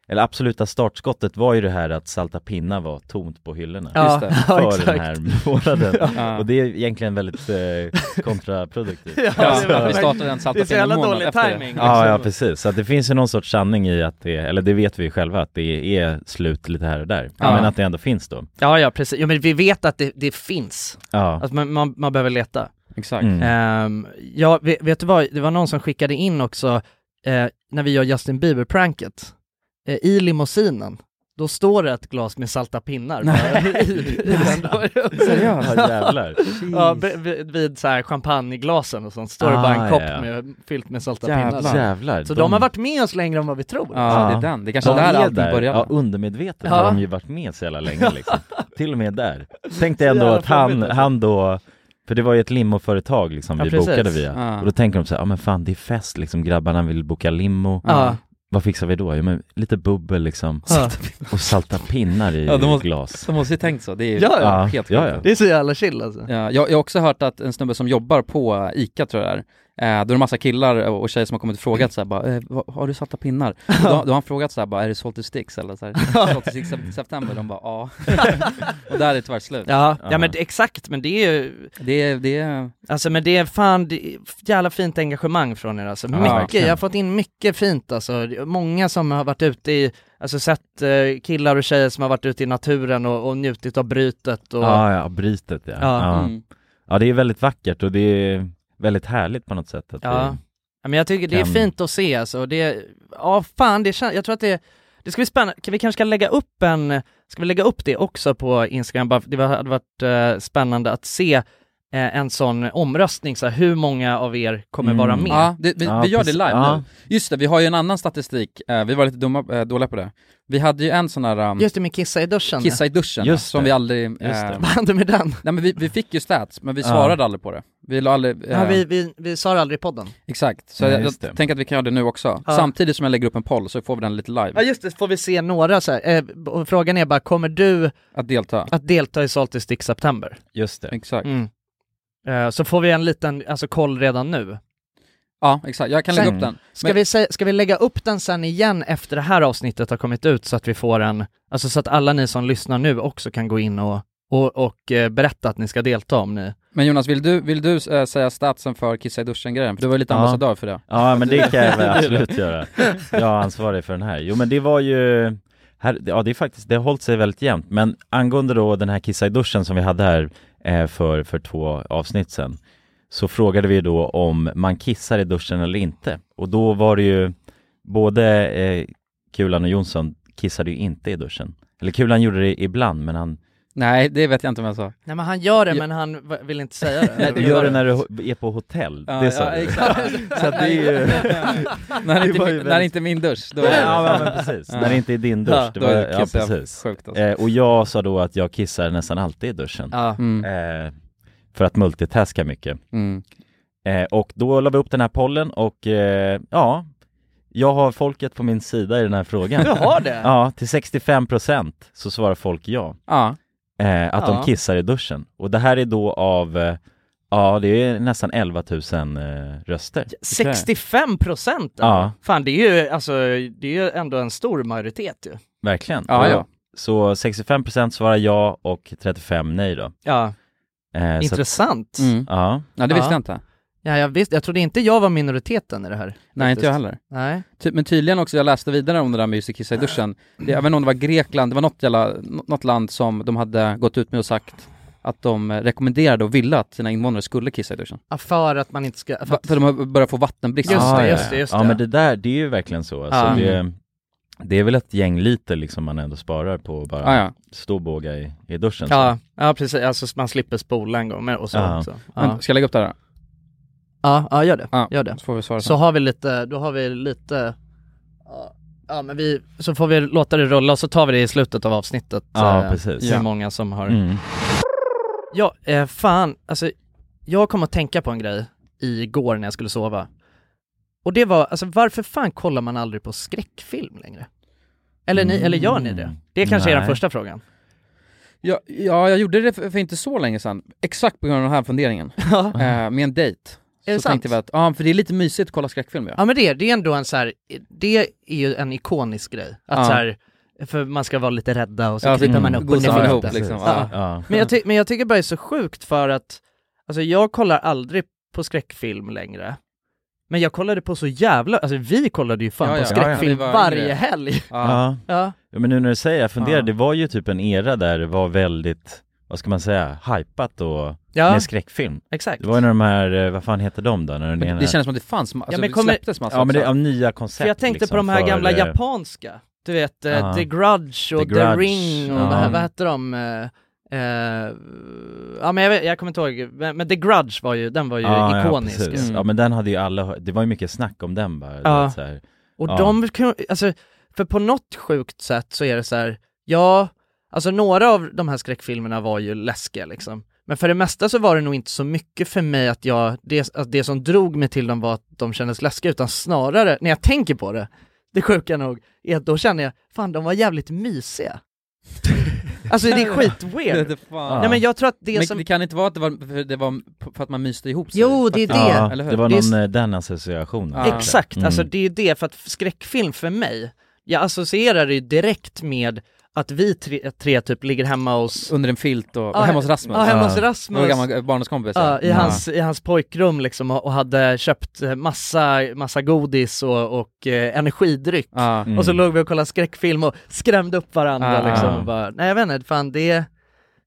Speaker 3: eller absoluta startskottet var ju det här att salta pinna var tomt på hyllorna
Speaker 7: Ja, Just det. ja,
Speaker 3: för den
Speaker 7: exakt.
Speaker 3: här månaden.
Speaker 7: Ja.
Speaker 3: Och det är egentligen väldigt eh, kontraproduktivt.
Speaker 7: Ja, det är verkligen- Vi startar en salta det är så jävla pinna-månad dålig efter det. timing,
Speaker 3: Ja, ja
Speaker 7: liksom.
Speaker 3: precis. Så att det finns ju någon sorts sanning i att det, eller det vet vi ju själva, att det är slut lite här och där.
Speaker 7: Ja.
Speaker 3: Men att det ändå finns då.
Speaker 7: Ja, ja precis. Ja, men vi vet att det, det finns.
Speaker 3: Ja.
Speaker 7: Alltså, man, man, man behöver leta.
Speaker 1: Exakt.
Speaker 3: Mm.
Speaker 7: Ehm, ja, vet, vet du vad, det var någon som skickade in också, eh, när vi gör Justin Bieber-pranket, eh, i limousinen, då står det ett glas med salta pinnar bara i, i den.
Speaker 3: Seriöst? Ja, jävlar.
Speaker 7: ja, be- be- vid så här champagneglasen och sånt, står det bara
Speaker 3: Ah,
Speaker 7: en kopp
Speaker 3: ja, ja.
Speaker 7: med, fyllt med salta
Speaker 3: Jävlar.
Speaker 7: pinnar.
Speaker 3: Jävlar,
Speaker 7: Så de...
Speaker 3: de
Speaker 7: har varit med oss längre än vad vi tror.
Speaker 3: de är där. Ja, undermedvetet har
Speaker 7: Ja.
Speaker 3: de ju varit med så jävla länge liksom. Till och med där. Tänk dig
Speaker 7: Så
Speaker 3: ändå
Speaker 7: jävla
Speaker 3: att han,
Speaker 7: flummigt, alltså.
Speaker 3: han då, för det var ju ett limoföretag liksom
Speaker 7: Ja,
Speaker 3: vi
Speaker 7: precis.
Speaker 3: bokade via.
Speaker 7: Ja.
Speaker 3: Och då tänker de så här, ja men fan det är fest liksom, grabbarna vill boka limo.
Speaker 7: Ja.
Speaker 3: Vad fixar vi då? Jo men lite bubbel liksom.
Speaker 7: Ja.
Speaker 3: Och salta pinnar i
Speaker 1: Ja, de måste-
Speaker 3: glas.
Speaker 1: De måste ju tänkt så, det är ju
Speaker 7: Ja, ja.
Speaker 1: helt
Speaker 3: Ja,
Speaker 1: sjukt.
Speaker 3: ja.
Speaker 7: Det är så jävla chill alltså.
Speaker 1: Ja, jag, jag har också hört att en snubbe som jobbar på ICA tror jag det Eh, då är det massa killar och och tjejer som har kommit och frågat såhär bara, eh, vad- har du salta pinnar? Och Då, då har han frågat såhär bara, är det Salty Sticks eller såhär, Salty Sticks sep- September? De bara, ja. och där är det tyvärr slut.
Speaker 7: Ja, ja men det- exakt, men det är ju...
Speaker 1: Det är, det är...
Speaker 7: Alltså men det är fan, det är jävla fint engagemang från er alltså.
Speaker 1: Ja,
Speaker 7: Mycket,
Speaker 1: verkligen.
Speaker 7: jag har fått in mycket fint alltså. Många som har varit ute i, alltså sett eh, killar och tjejer som har varit ute i naturen och, och njutit av brytet och...
Speaker 3: Ja, ja, brytet ja.
Speaker 7: Ja.
Speaker 3: Ja. Ja.
Speaker 7: Mm.
Speaker 3: det är väldigt vackert och det är väldigt härligt på något sätt att
Speaker 7: Ja. Ja, men jag tycker det är
Speaker 3: kan-
Speaker 7: fint att se alltså. Det, ja fan, det känns, jag tror att det, det ska bli spännande. Kan vi kanske ska lägga upp en, ska vi lägga upp det också på Instagram? Bara, det var- hade varit eh, spännande att se eh, en sån omröstning, så här, hur många av er kommer vara
Speaker 3: Mm.
Speaker 7: med?
Speaker 1: Ja, det, vi, vi gör det live nu. Just det, vi har ju en annan statistik, eh, vi var lite dumma, eh, dåliga på det. Vi hade ju en sån här um,
Speaker 7: Just det, med Mm. kissa i duschen.
Speaker 1: kissa i duschen,
Speaker 7: Just
Speaker 1: som
Speaker 7: det.
Speaker 1: vi aldrig...
Speaker 7: Just det.
Speaker 1: eh,
Speaker 7: Vad hände med den?
Speaker 1: Nej men vi, vi fick ju stats, men vi
Speaker 7: Ja.
Speaker 1: svarade aldrig på det. Vi la aldrig... eh,
Speaker 7: Ja, vi, vi, vi sa det aldrig i podden.
Speaker 1: Exakt, så
Speaker 7: Nej,
Speaker 1: jag,
Speaker 7: just
Speaker 1: jag
Speaker 7: det.
Speaker 1: tänker att vi kan göra det nu också.
Speaker 7: Ja.
Speaker 1: Samtidigt som jag lägger upp en poll så får vi den lite live.
Speaker 7: Ja just det, får vi se några så här. Eh, b- och frågan är bara, kommer du
Speaker 1: Att delta.
Speaker 7: att delta i Salty Stick September?
Speaker 3: Just det.
Speaker 1: Exakt.
Speaker 7: Mm. Eh, så får vi en liten, alltså koll redan nu.
Speaker 1: Ja, exakt. Jag kan lägga
Speaker 7: Sen-
Speaker 1: upp den.
Speaker 7: Ska,
Speaker 1: Men-
Speaker 7: vi, sä- ska vi lägga upp den sen igen efter det här avsnittet har kommit ut så att vi får en, alltså så att alla ni som lyssnar nu också kan gå in och, och, och eh, berätta att ni ska delta om ni
Speaker 1: Men Jonas, vill du, vill du eh, säga statsen för kissa i duschen-grejen? För du var ju lite
Speaker 3: Ja.
Speaker 1: ambassadör för det.
Speaker 3: Ja men det kan jag väl absolut göra. Jag är ansvarig för den här. Jo men det var ju, här, ja det är faktiskt, det har hållit sig väldigt jämnt. Men angående då den här kissa i duschen som vi hade här eh, för, för två avsnitt sedan. Så frågade vi då om man kissar i duschen eller inte. Och då var det ju både eh, Kulan och Jonsson kissade ju inte i duschen. Eller Kulan gjorde det ibland men han
Speaker 1: Nej, det vet jag inte om jag sa.
Speaker 7: Nej men han gör det
Speaker 1: Ja.
Speaker 7: men han v- vill inte säga det.
Speaker 3: Nej, du gör det när du ho- är på hotell,
Speaker 1: Ja,
Speaker 3: det
Speaker 1: ja,
Speaker 3: sa du.
Speaker 1: exakt.
Speaker 3: Så att det är ju...
Speaker 1: När det inte är
Speaker 3: var
Speaker 1: min-
Speaker 3: ju
Speaker 1: när det inte är min dusch, då är det-
Speaker 3: Ja men, men precis,
Speaker 1: Ja.
Speaker 3: när det inte är din dusch,
Speaker 1: Ja,
Speaker 3: det
Speaker 1: då
Speaker 3: var,
Speaker 1: är det
Speaker 3: ja,
Speaker 1: kissar jag
Speaker 3: precis.
Speaker 1: sjukt alltså.
Speaker 3: eh, och jag sa då att jag kissar nästan alltid i duschen.
Speaker 1: Ja. Mm.
Speaker 3: Eh, för att multitaska mycket. Eh, och då la vi upp den här pollen och eh, ja, jag har folket på min sida i den här frågan.
Speaker 7: Du har det?
Speaker 3: Ja, till 65% så svarar folk ja.
Speaker 1: Ja.
Speaker 3: Eh, att
Speaker 7: Ja.
Speaker 3: de kissar i duschen. Och det här är då av, eh, ja det är nästan 11 000 eh, röster.
Speaker 7: 65 procent?
Speaker 3: Ja.
Speaker 7: Fan det är ju, alltså, det är ju ändå en stor majoritet ju.
Speaker 3: Verkligen.
Speaker 7: Ja, ja.
Speaker 3: Så 65% svarar ja och 35 nej då.
Speaker 7: Ja.
Speaker 3: Eh, så
Speaker 7: Intressant.
Speaker 3: Att, Ja.
Speaker 7: Ja. Ja, jag, visste, jag trodde inte jag var minoriteten i det här.
Speaker 1: Nej, inte jag
Speaker 7: faktiskt.
Speaker 1: heller.
Speaker 7: Nej.
Speaker 1: Ty- men tydligen också, jag läste vidare om det där med just att kissa i duschen. Det, jag vet inte om det var Grekland, det var något, jävla, nå- något land som de hade gått ut med och sagt att de eh, rekommenderade och ville att sina invånare skulle kissa i duschen.
Speaker 7: Ja, För att man inte ska...
Speaker 1: Va- För de har börjat få vattenbrist. Ah,
Speaker 7: Just
Speaker 3: Ja,
Speaker 7: det,
Speaker 3: ja,
Speaker 7: just
Speaker 3: ja.
Speaker 7: det, just
Speaker 3: Ja
Speaker 7: det.
Speaker 3: men det där, det är ju verkligen så. Alltså,
Speaker 1: Ja.
Speaker 3: det, det är väl ett gäng liter liksom man ändå sparar på att bara
Speaker 1: Ah, Ja, ja.
Speaker 3: stå och båga i, i duschen.
Speaker 7: Ja, ja precis, alltså man slipper spola en gång med och så
Speaker 3: Ja.
Speaker 7: också. Ja.
Speaker 1: Men, ska jag lägga upp det här?
Speaker 7: Ja, ja gör det. gör det.
Speaker 1: Så får vi svara
Speaker 7: Så
Speaker 1: sen.
Speaker 7: har vi lite, då har vi lite, ja, ja men vi, så får vi låta det rulla och så tar vi det i slutet av avsnittet.
Speaker 3: Ja,
Speaker 7: eh,
Speaker 3: precis.
Speaker 7: Hur
Speaker 3: Ja.
Speaker 7: många som har...
Speaker 3: Mm.
Speaker 7: Ja, eh, fan, alltså jag kom att tänka på en grej igår när jag skulle sova. Och det var, alltså varför fan kollar man aldrig på skräckfilm längre? Eller, ni, eller gör ni det? Det kanske är den
Speaker 1: Mm, Nej.
Speaker 7: första frågan.
Speaker 1: Ja, ja, jag gjorde det för, för inte så länge sedan, exakt på grund av den här funderingen.
Speaker 7: Ja.
Speaker 1: Eh, med en dejt.
Speaker 7: Är det
Speaker 1: så tänkte
Speaker 7: sant?
Speaker 1: vi att, ja för det är lite mysigt att kolla skräckfilm ja.
Speaker 7: Ja men det, det är ändå en så här, det är ju en ikonisk grej. Att
Speaker 1: Ja.
Speaker 7: så här, för man ska vara lite rädda och så
Speaker 1: Ja,
Speaker 7: kryper
Speaker 1: mm.
Speaker 7: man upp och
Speaker 1: gosar
Speaker 7: ner
Speaker 1: ihop,
Speaker 7: lite.
Speaker 1: liksom.
Speaker 7: Ja.
Speaker 1: Ja. Ja.
Speaker 7: Men, jag ty- men jag tycker bara det är så sjukt för att, alltså jag kollar aldrig på skräckfilm längre. Men jag kollade på så jävla, alltså vi kollade ju fan
Speaker 1: Ja,
Speaker 7: på
Speaker 1: ja.
Speaker 7: skräckfilm
Speaker 1: Ja, ja. Vi var
Speaker 7: varje
Speaker 1: yngre.
Speaker 7: helg.
Speaker 3: Ja.
Speaker 7: Ja.
Speaker 3: Ja, men nu när du säger, jag funderar,
Speaker 7: Ja.
Speaker 3: det var ju typ en era där det var väldigt, vad ska man säga, hypat och
Speaker 7: Ja.
Speaker 3: med skräckfilm.
Speaker 7: Exakt.
Speaker 3: Det var ju när de här, eh, vad fan heter de då? När den ena-
Speaker 1: Det känns som att det fanns, ma- alltså,
Speaker 7: men
Speaker 1: det
Speaker 7: kommer-
Speaker 1: släpptes massa
Speaker 3: Ja men det är
Speaker 1: också.
Speaker 3: av nya koncept
Speaker 7: För jag tänkte
Speaker 3: liksom,
Speaker 7: på de här
Speaker 3: för,
Speaker 7: gamla
Speaker 3: eh,
Speaker 7: japanska, du vet eh,
Speaker 3: Ja.
Speaker 7: The Grudge och The,
Speaker 3: The Grudge,
Speaker 7: Ring och det här,
Speaker 3: ja.
Speaker 7: vad heter de? Eh, eh, ja men jag, vet- jag kommer inte ihåg, men, men The Grudge var ju, den var ju
Speaker 3: ja,
Speaker 7: ikonisk.
Speaker 3: Ja, precis.
Speaker 7: Mm.
Speaker 3: ja men den hade ju alla, hört- det var ju mycket snack om den bara. du
Speaker 7: Ja.
Speaker 3: vet, så här.
Speaker 7: Och
Speaker 3: Ja.
Speaker 7: de kan, alltså, för på något sjukt sätt så är det så här, ja, alltså några av de här skräckfilmerna var ju läskiga liksom. Men för det mesta så var det nog inte så mycket för mig att jag, det, att det som drog mig till dem var att de kändes läskiga, utan snarare, när jag tänker på det, det sjuka nog, är att då känner jag, fan de var jävligt mysiga. Alltså det är skitweird.
Speaker 1: Det är fan.
Speaker 7: Nej men jag tror att det
Speaker 1: men
Speaker 7: som...
Speaker 1: det kan inte vara att det var för, det var för att man myste ihop sig?
Speaker 7: Jo, det är
Speaker 1: faktiskt.
Speaker 7: det.
Speaker 1: Eller hur?
Speaker 3: det var
Speaker 7: Det är
Speaker 3: någon, eh, den associationen.
Speaker 1: Ja.
Speaker 7: Exakt,
Speaker 3: Mm.
Speaker 7: alltså det är ju det, för att skräckfilm för mig, jag associerar det ju direkt med att vi tre, tre typ ligger hemma hos...
Speaker 1: Under en filt och,
Speaker 7: Ja,
Speaker 1: och hemma hos Rasmus?
Speaker 7: Ja, hemma hos Rasmus.
Speaker 1: Vår gamla barndomskompis Mm.
Speaker 7: Ja, i, hans, I hans pojkrum liksom och, och hade köpt eh, massa, massa godis och, och eh, energidryck.
Speaker 1: Ja.
Speaker 7: Och så
Speaker 1: Mm.
Speaker 7: låg vi och kollade skräckfilm och skrämde upp varandra
Speaker 1: Ja.
Speaker 7: liksom.
Speaker 1: Ja.
Speaker 7: Och bara, nej jag vet inte, fan det,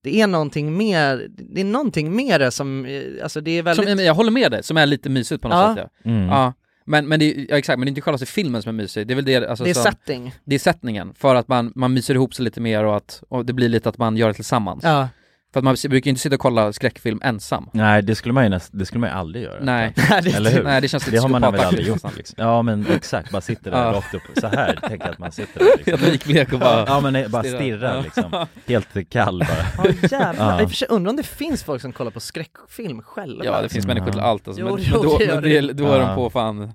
Speaker 7: det är någonting mer, det är någonting mer det som, eh, alltså det är väldigt...
Speaker 1: Som, jag håller med dig, som är lite mysigt på något
Speaker 7: Ja.
Speaker 1: sätt ja.
Speaker 7: Mm.
Speaker 1: ja. Men, men det är, ja, exakt, men det är inte själva filmen som är mysig, det är väl det alltså,
Speaker 7: Det är
Speaker 1: som,
Speaker 7: setting.
Speaker 1: Det är sättningen, för att man, man myser ihop sig lite mer och att och det blir lite att man gör det tillsammans.
Speaker 7: Ja.
Speaker 1: För att man brukar ju inte sitta och kolla skräckfilm ensam.
Speaker 3: Nej, det skulle man ju, näst, det skulle man ju aldrig göra.
Speaker 1: Nej.
Speaker 3: tror jag.
Speaker 1: Nej, det-
Speaker 3: Eller hur?
Speaker 1: nej, det känns lite
Speaker 3: Det har man väl
Speaker 1: psykopataktigt
Speaker 3: aldrig gjort.
Speaker 1: nästan, liksom.
Speaker 3: Ja, men exakt. Bara sitter där
Speaker 1: Ja.
Speaker 3: rakt upp, så här tänker jag att man sitter där. Liksom.
Speaker 7: typ-
Speaker 1: Helt likblek och bara
Speaker 3: Ja, men nej, bara
Speaker 1: stirrar.
Speaker 3: stirrar
Speaker 1: Ja.
Speaker 3: liksom. Helt kall bara.
Speaker 7: Ja jävlar,
Speaker 3: Ja.
Speaker 7: i och för sig undrar om det finns folk som kollar på skräckfilm själva?
Speaker 1: Ja, det finns
Speaker 3: Mm,
Speaker 1: människor till
Speaker 3: ja.
Speaker 1: allt alltså,
Speaker 7: Jo,
Speaker 1: men,
Speaker 7: jo,
Speaker 1: men då,
Speaker 7: det gör
Speaker 1: men det, är-
Speaker 7: det.
Speaker 1: då är de
Speaker 3: Ja.
Speaker 1: på fan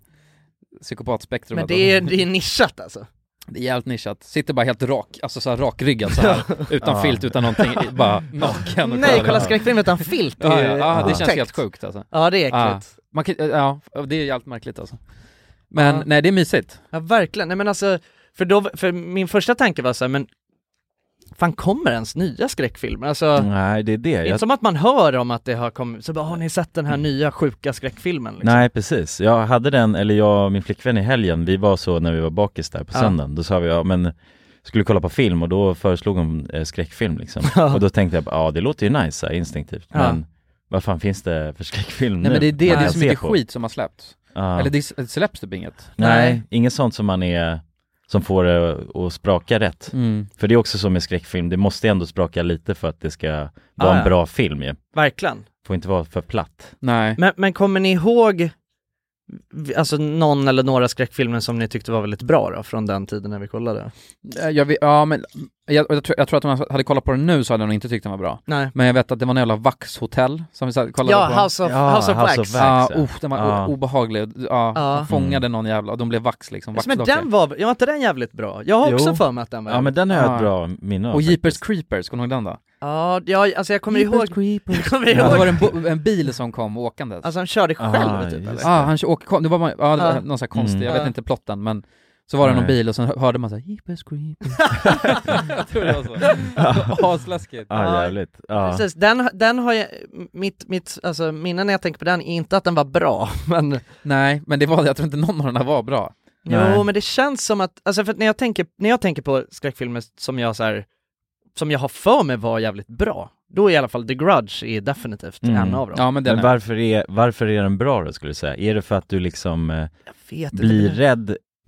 Speaker 1: psykopatspektrumet.
Speaker 7: Men det är, det är nischat alltså.
Speaker 1: Det är jävligt nischat, sitter bara helt rak, alltså såhär rakryggad så här. utan
Speaker 7: Ja.
Speaker 1: filt, utan någonting, i- bara naken och
Speaker 7: Nej, kolla skräckfilm utan filt
Speaker 1: Ja,
Speaker 7: är
Speaker 1: ja,
Speaker 7: ju
Speaker 1: ja, det känns
Speaker 7: otäckt.
Speaker 1: helt sjukt alltså.
Speaker 7: Ja, det är äckligt.
Speaker 1: Ja, Man kan, ja det är jävligt märkligt alltså. Men
Speaker 7: Ja.
Speaker 1: nej, det är mysigt.
Speaker 7: Ja verkligen, nej men alltså, för då, för min första tanke var så här, men fan kommer ens nya skräckfilmer?
Speaker 1: Mm.
Speaker 7: Alltså,
Speaker 3: Nej, det är det.
Speaker 7: det är inte
Speaker 3: Jag,
Speaker 7: som att man hör om att det har kommit, så bara har ni sett den
Speaker 1: Mm.
Speaker 7: här nya sjuka skräckfilmen? Liksom.
Speaker 3: Nej precis, jag hade den, eller jag och min flickvän i helgen, vi var så när vi var bakis där på
Speaker 7: Ja.
Speaker 3: söndagen, då sa vi ja men skulle kolla på film och då föreslog hon eh, skräckfilm liksom.
Speaker 7: Ja.
Speaker 3: Och då tänkte jag bara, ja det låter ju nice så här, instinktivt,
Speaker 1: Ja.
Speaker 3: men vad fan finns det för skräckfilm
Speaker 1: Nej
Speaker 3: nu?
Speaker 1: men det är det,
Speaker 3: Man
Speaker 1: det är
Speaker 3: kan
Speaker 1: så
Speaker 3: se
Speaker 1: mycket
Speaker 3: på.
Speaker 1: skit som har släppts.
Speaker 3: Ja.
Speaker 1: Eller det, s- det släpps typ inget.
Speaker 3: Nej, inget sånt som man är, som får det att spraka rätt.
Speaker 1: Mm.
Speaker 3: För det är också så med skräckfilm, det måste ändå spraka lite för att det ska vara
Speaker 7: Ja, ja.
Speaker 3: en bra film ju.
Speaker 7: Verkligen.
Speaker 3: Får inte vara för platt.
Speaker 1: Nej.
Speaker 7: Men, men kommer ni ihåg, alltså någon eller några skräckfilmer som ni tyckte var väldigt bra då, från den tiden när vi kollade?
Speaker 1: Eh, Jag, vet- ja, men, jag, jag, tror, jag tror att om jag hade kollat på den nu så hade jag nog inte tyckt den var bra.
Speaker 7: Nej.
Speaker 1: Men jag vet att det var någon jävla vaxhotell som vi satt, kollade
Speaker 7: Ja,
Speaker 1: på.
Speaker 7: House of- Ja, House of House Wax. of Wax,
Speaker 1: Ja,
Speaker 7: ja.
Speaker 1: oh, den var
Speaker 7: Ja.
Speaker 1: o- obehaglig. Ja,
Speaker 7: Ja.
Speaker 1: de fångade någon jävla och de blev vax liksom.
Speaker 7: Men
Speaker 1: vaxdockor.
Speaker 7: den var, ja, var inte den jävligt bra? Jag har också för mig att den var
Speaker 3: Ja men den har jag
Speaker 1: Ja.
Speaker 3: ett bra minne av.
Speaker 1: Och Jeepers Creepers, kommer du ihåg den då?
Speaker 7: Ja, jag, alltså jag kommer ihåg, jag kommer ihåg,
Speaker 1: Ja, det var en, bo- en bil som kom åkandes.
Speaker 7: alltså han körde själv typ eller?
Speaker 1: Ja, han kö- åker, kom- det var, ja, det var
Speaker 7: Ja.
Speaker 1: någon sån här konstig,
Speaker 7: Mm.
Speaker 1: jag vet
Speaker 7: Ja.
Speaker 1: inte plotten men så var det någon
Speaker 3: Nej.
Speaker 1: bil och så hörde man såhär Jeepers Creepers. jag tror det var så. Asläskigt.
Speaker 3: Ja Ah, jävligt. Ja.
Speaker 7: Ah. Precis, den, den har jag, mitt, mitt alltså, minne när jag tänker på den är inte att den var bra, men
Speaker 1: Nej, men det var jag tror inte någon av de där var bra.
Speaker 7: jo men det känns som att, alltså för att när jag tänker, när jag tänker på skräckfilmer som jag så här, som jag har för mig var jävligt bra, då är i alla fall The Grudge är definitivt
Speaker 3: Mm.
Speaker 7: en av dem.
Speaker 3: men varför, är, varför är den bra då skulle du säga? Är det för att du liksom eh,
Speaker 7: vet inte.
Speaker 3: blir rädd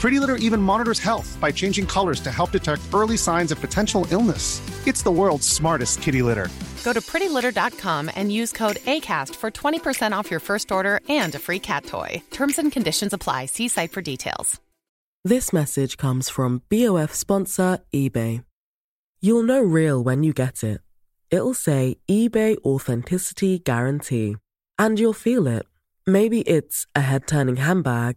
Speaker 12: Pretty Litter even monitors health by changing colors to help detect early signs of potential illness. It's the world's smartest kitty litter.
Speaker 4: Go to prettylitter.com and use code ACAST for 20% off your first order and a free cat toy. Terms and conditions apply. See site for details.
Speaker 13: This message comes from BOF sponsor eBay. You'll know real when you get it. It'll say eBay Authenticity Guarantee. And you'll feel it. Maybe it's a head turning handbag,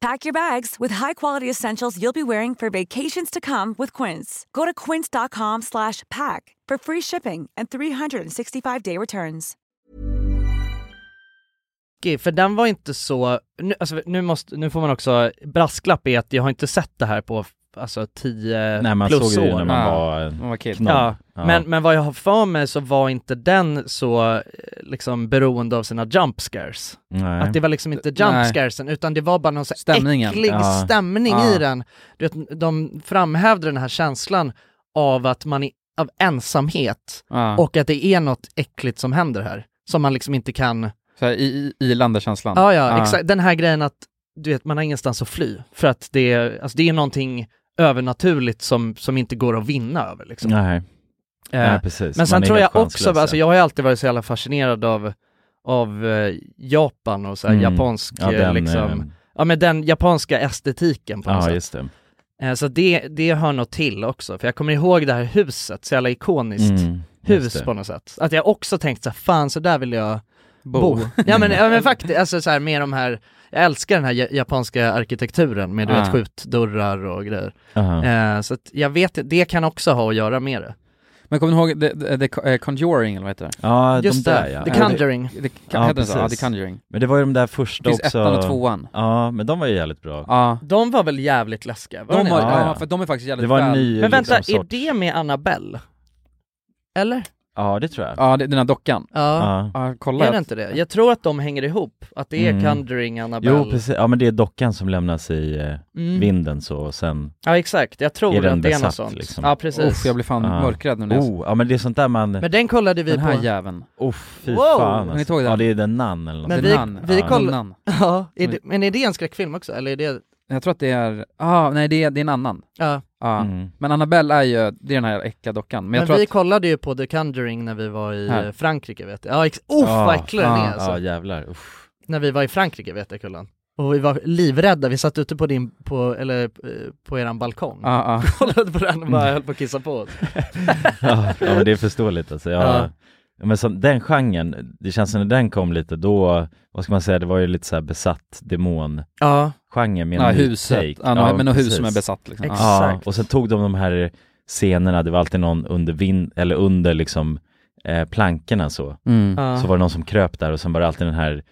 Speaker 14: Pack your bags with high-quality essentials you'll be wearing for vacations to come with Quince. Go to quince.com slash pack for free shipping and 365-day returns.
Speaker 7: Okej, för den var inte så, nu, alltså, nu, måste, nu får man också, brasklapp är att jag har inte sett det här på alltså 10
Speaker 3: Nej, man
Speaker 7: plus
Speaker 3: såg det ju
Speaker 7: år.
Speaker 3: när man Ja, var
Speaker 1: man var kid.
Speaker 3: knoll.
Speaker 7: Ja.
Speaker 3: Ja.
Speaker 7: Men, men vad jag har för mig så var inte den så eh, liksom beroende av sina jump scares.
Speaker 3: Nej.
Speaker 7: Att det var liksom inte jump
Speaker 1: Nej.
Speaker 7: scaresen utan det var bara någon så här
Speaker 1: Stämningen.
Speaker 7: äcklig
Speaker 1: Ja.
Speaker 7: stämning
Speaker 1: Ja.
Speaker 7: i den. Du vet, de framhävde den här känslan av att man är, av ensamhet
Speaker 1: Ja.
Speaker 7: och att det är något äckligt som händer här. Som man liksom inte kan
Speaker 1: Så här, i, i, ilande-känslan.
Speaker 7: Ja, ja, exakt. Den här grejen att du vet, man har ingenstans att fly. För att det är, alltså, det är någonting övernaturligt som, som inte går att vinna över. Liksom.
Speaker 3: Nej.
Speaker 7: Eh,
Speaker 3: Nej, precis.
Speaker 7: Men sen
Speaker 3: Man är
Speaker 7: tror
Speaker 3: helt
Speaker 7: jag också,
Speaker 3: chanslös, ja.
Speaker 7: alltså, jag har ju alltid varit så jävla fascinerad av, av eh, Japan och så här,
Speaker 3: Mm.
Speaker 7: japansk,
Speaker 3: Ja,
Speaker 7: eh,
Speaker 3: den,
Speaker 7: liksom,
Speaker 3: eh,
Speaker 7: ja men den japanska estetiken på något
Speaker 3: Ja,
Speaker 7: sätt.
Speaker 3: just det.
Speaker 7: Eh, Så det, det hör nog till också, för jag kommer ihåg det här huset, så jävla ikoniskt
Speaker 3: Mm, just
Speaker 7: hus
Speaker 3: det.
Speaker 7: på något sätt. Att jag också tänkt så här, fan så där vill jag
Speaker 1: Bo.
Speaker 7: bo. Ja men, ja, men faktiskt, alltså så här med de här, jag älskar den här ja- japanska arkitekturen med du
Speaker 1: Ah.
Speaker 7: vet skjutdörrar och grejer.
Speaker 3: Ah.
Speaker 1: Aha.
Speaker 7: Eh, Så att jag vet, det kan också ha att göra med det.
Speaker 1: Men kommer ni ihåg The, the, the eh, Conjuring eller vad heter det?
Speaker 3: Ja, de där ja.
Speaker 1: Eller-
Speaker 3: Ja,
Speaker 1: The,
Speaker 3: det-
Speaker 1: heter den så? Ja, The
Speaker 3: precis.
Speaker 1: Conjuring.
Speaker 3: Men det var ju de där första
Speaker 1: Finns
Speaker 3: också.
Speaker 1: ettan och tvåan.
Speaker 3: Ja, men de var ju jävligt bra.
Speaker 1: Ja.
Speaker 7: De var väl jävligt läskiga? Var
Speaker 1: De
Speaker 7: det
Speaker 1: var-
Speaker 7: inte?
Speaker 1: ja, Ja, ja. för de är faktiskt jävligt
Speaker 3: Det var en väl- ny,
Speaker 7: Men vänta,
Speaker 3: liksom,
Speaker 7: är
Speaker 3: sort.
Speaker 7: det med Annabelle? Eller?
Speaker 3: Ja, det tror jag.
Speaker 1: Ja, det- den här dockan.
Speaker 7: Ja.
Speaker 1: ja kolla.
Speaker 7: Är det inte det? Jag tror att de hänger ihop, att det är
Speaker 3: Mm.
Speaker 7: Conjuring, Annabelle.
Speaker 3: Jo, precis. Ja, men det är dockan som lämnas i eh,
Speaker 7: Mm.
Speaker 3: vinden så och sen
Speaker 7: Ja exakt, jag tror
Speaker 3: är den
Speaker 7: att det är något
Speaker 3: besatt,
Speaker 7: sånt.
Speaker 3: liksom.
Speaker 7: Ja precis.
Speaker 1: Uff, jag blir fan mörkrädd nu när jag-
Speaker 3: Oh, ja men det är sånt där man...
Speaker 7: Men den kollade vi
Speaker 1: Den här
Speaker 7: på.
Speaker 1: jäveln.
Speaker 3: Oh, fy
Speaker 7: Wow! Har
Speaker 3: fan
Speaker 7: ni
Speaker 3: alltså.
Speaker 1: tagit den?
Speaker 3: Ja, det är den nan eller något.
Speaker 7: Men
Speaker 1: Den
Speaker 7: vi,
Speaker 1: Nun.
Speaker 7: vi
Speaker 1: Ja.
Speaker 7: kollade...
Speaker 1: Nunnan.
Speaker 7: Ja, är det, men är det en skräckfilm också eller är det...
Speaker 1: Jag tror att det är, ah, nej det är, det är en annan.
Speaker 7: Ja.
Speaker 3: Mm.
Speaker 7: Mm.
Speaker 1: Ja. Men Annabelle är ju, det är den här äckliga dockan. Men,
Speaker 7: Men,
Speaker 1: jag tror
Speaker 7: vi
Speaker 1: att,
Speaker 7: kollade ju på The Conjuring när vi var i
Speaker 1: Här.
Speaker 7: eh, Frankrike vet jag. Ja, ex... Uff vad äcklig den är alltså.
Speaker 3: Ah. Ja, jävlar. Uff.
Speaker 7: När vi var i Frankrike vet jag Kullan. Och vi var livrädda, vi satt ute på din, på, eller eh, på eran balkong.
Speaker 1: Ja, ja.
Speaker 7: Kollade på den och bara höll på att kissa på oss.
Speaker 3: ja, ja, men det är förståeligt alltså. Jag,
Speaker 7: Ja.
Speaker 3: ja, Men så, den genren, det känns som när den kom lite då, vad ska man säga, det var ju lite så här besatt demon
Speaker 7: Ja.
Speaker 3: genre med en
Speaker 1: Ja,
Speaker 3: ny
Speaker 1: huset.
Speaker 3: take.
Speaker 1: Ja, nå- men något hus som är besatt, liksom.
Speaker 3: Ja,
Speaker 1: Exakt.
Speaker 3: och sen tog de de här scenerna, det var alltid någon under vind, eller under liksom eh, plankorna så.
Speaker 1: Mm.
Speaker 7: Ja.
Speaker 3: Så var det någon som kröp där och sen var det alltid den här,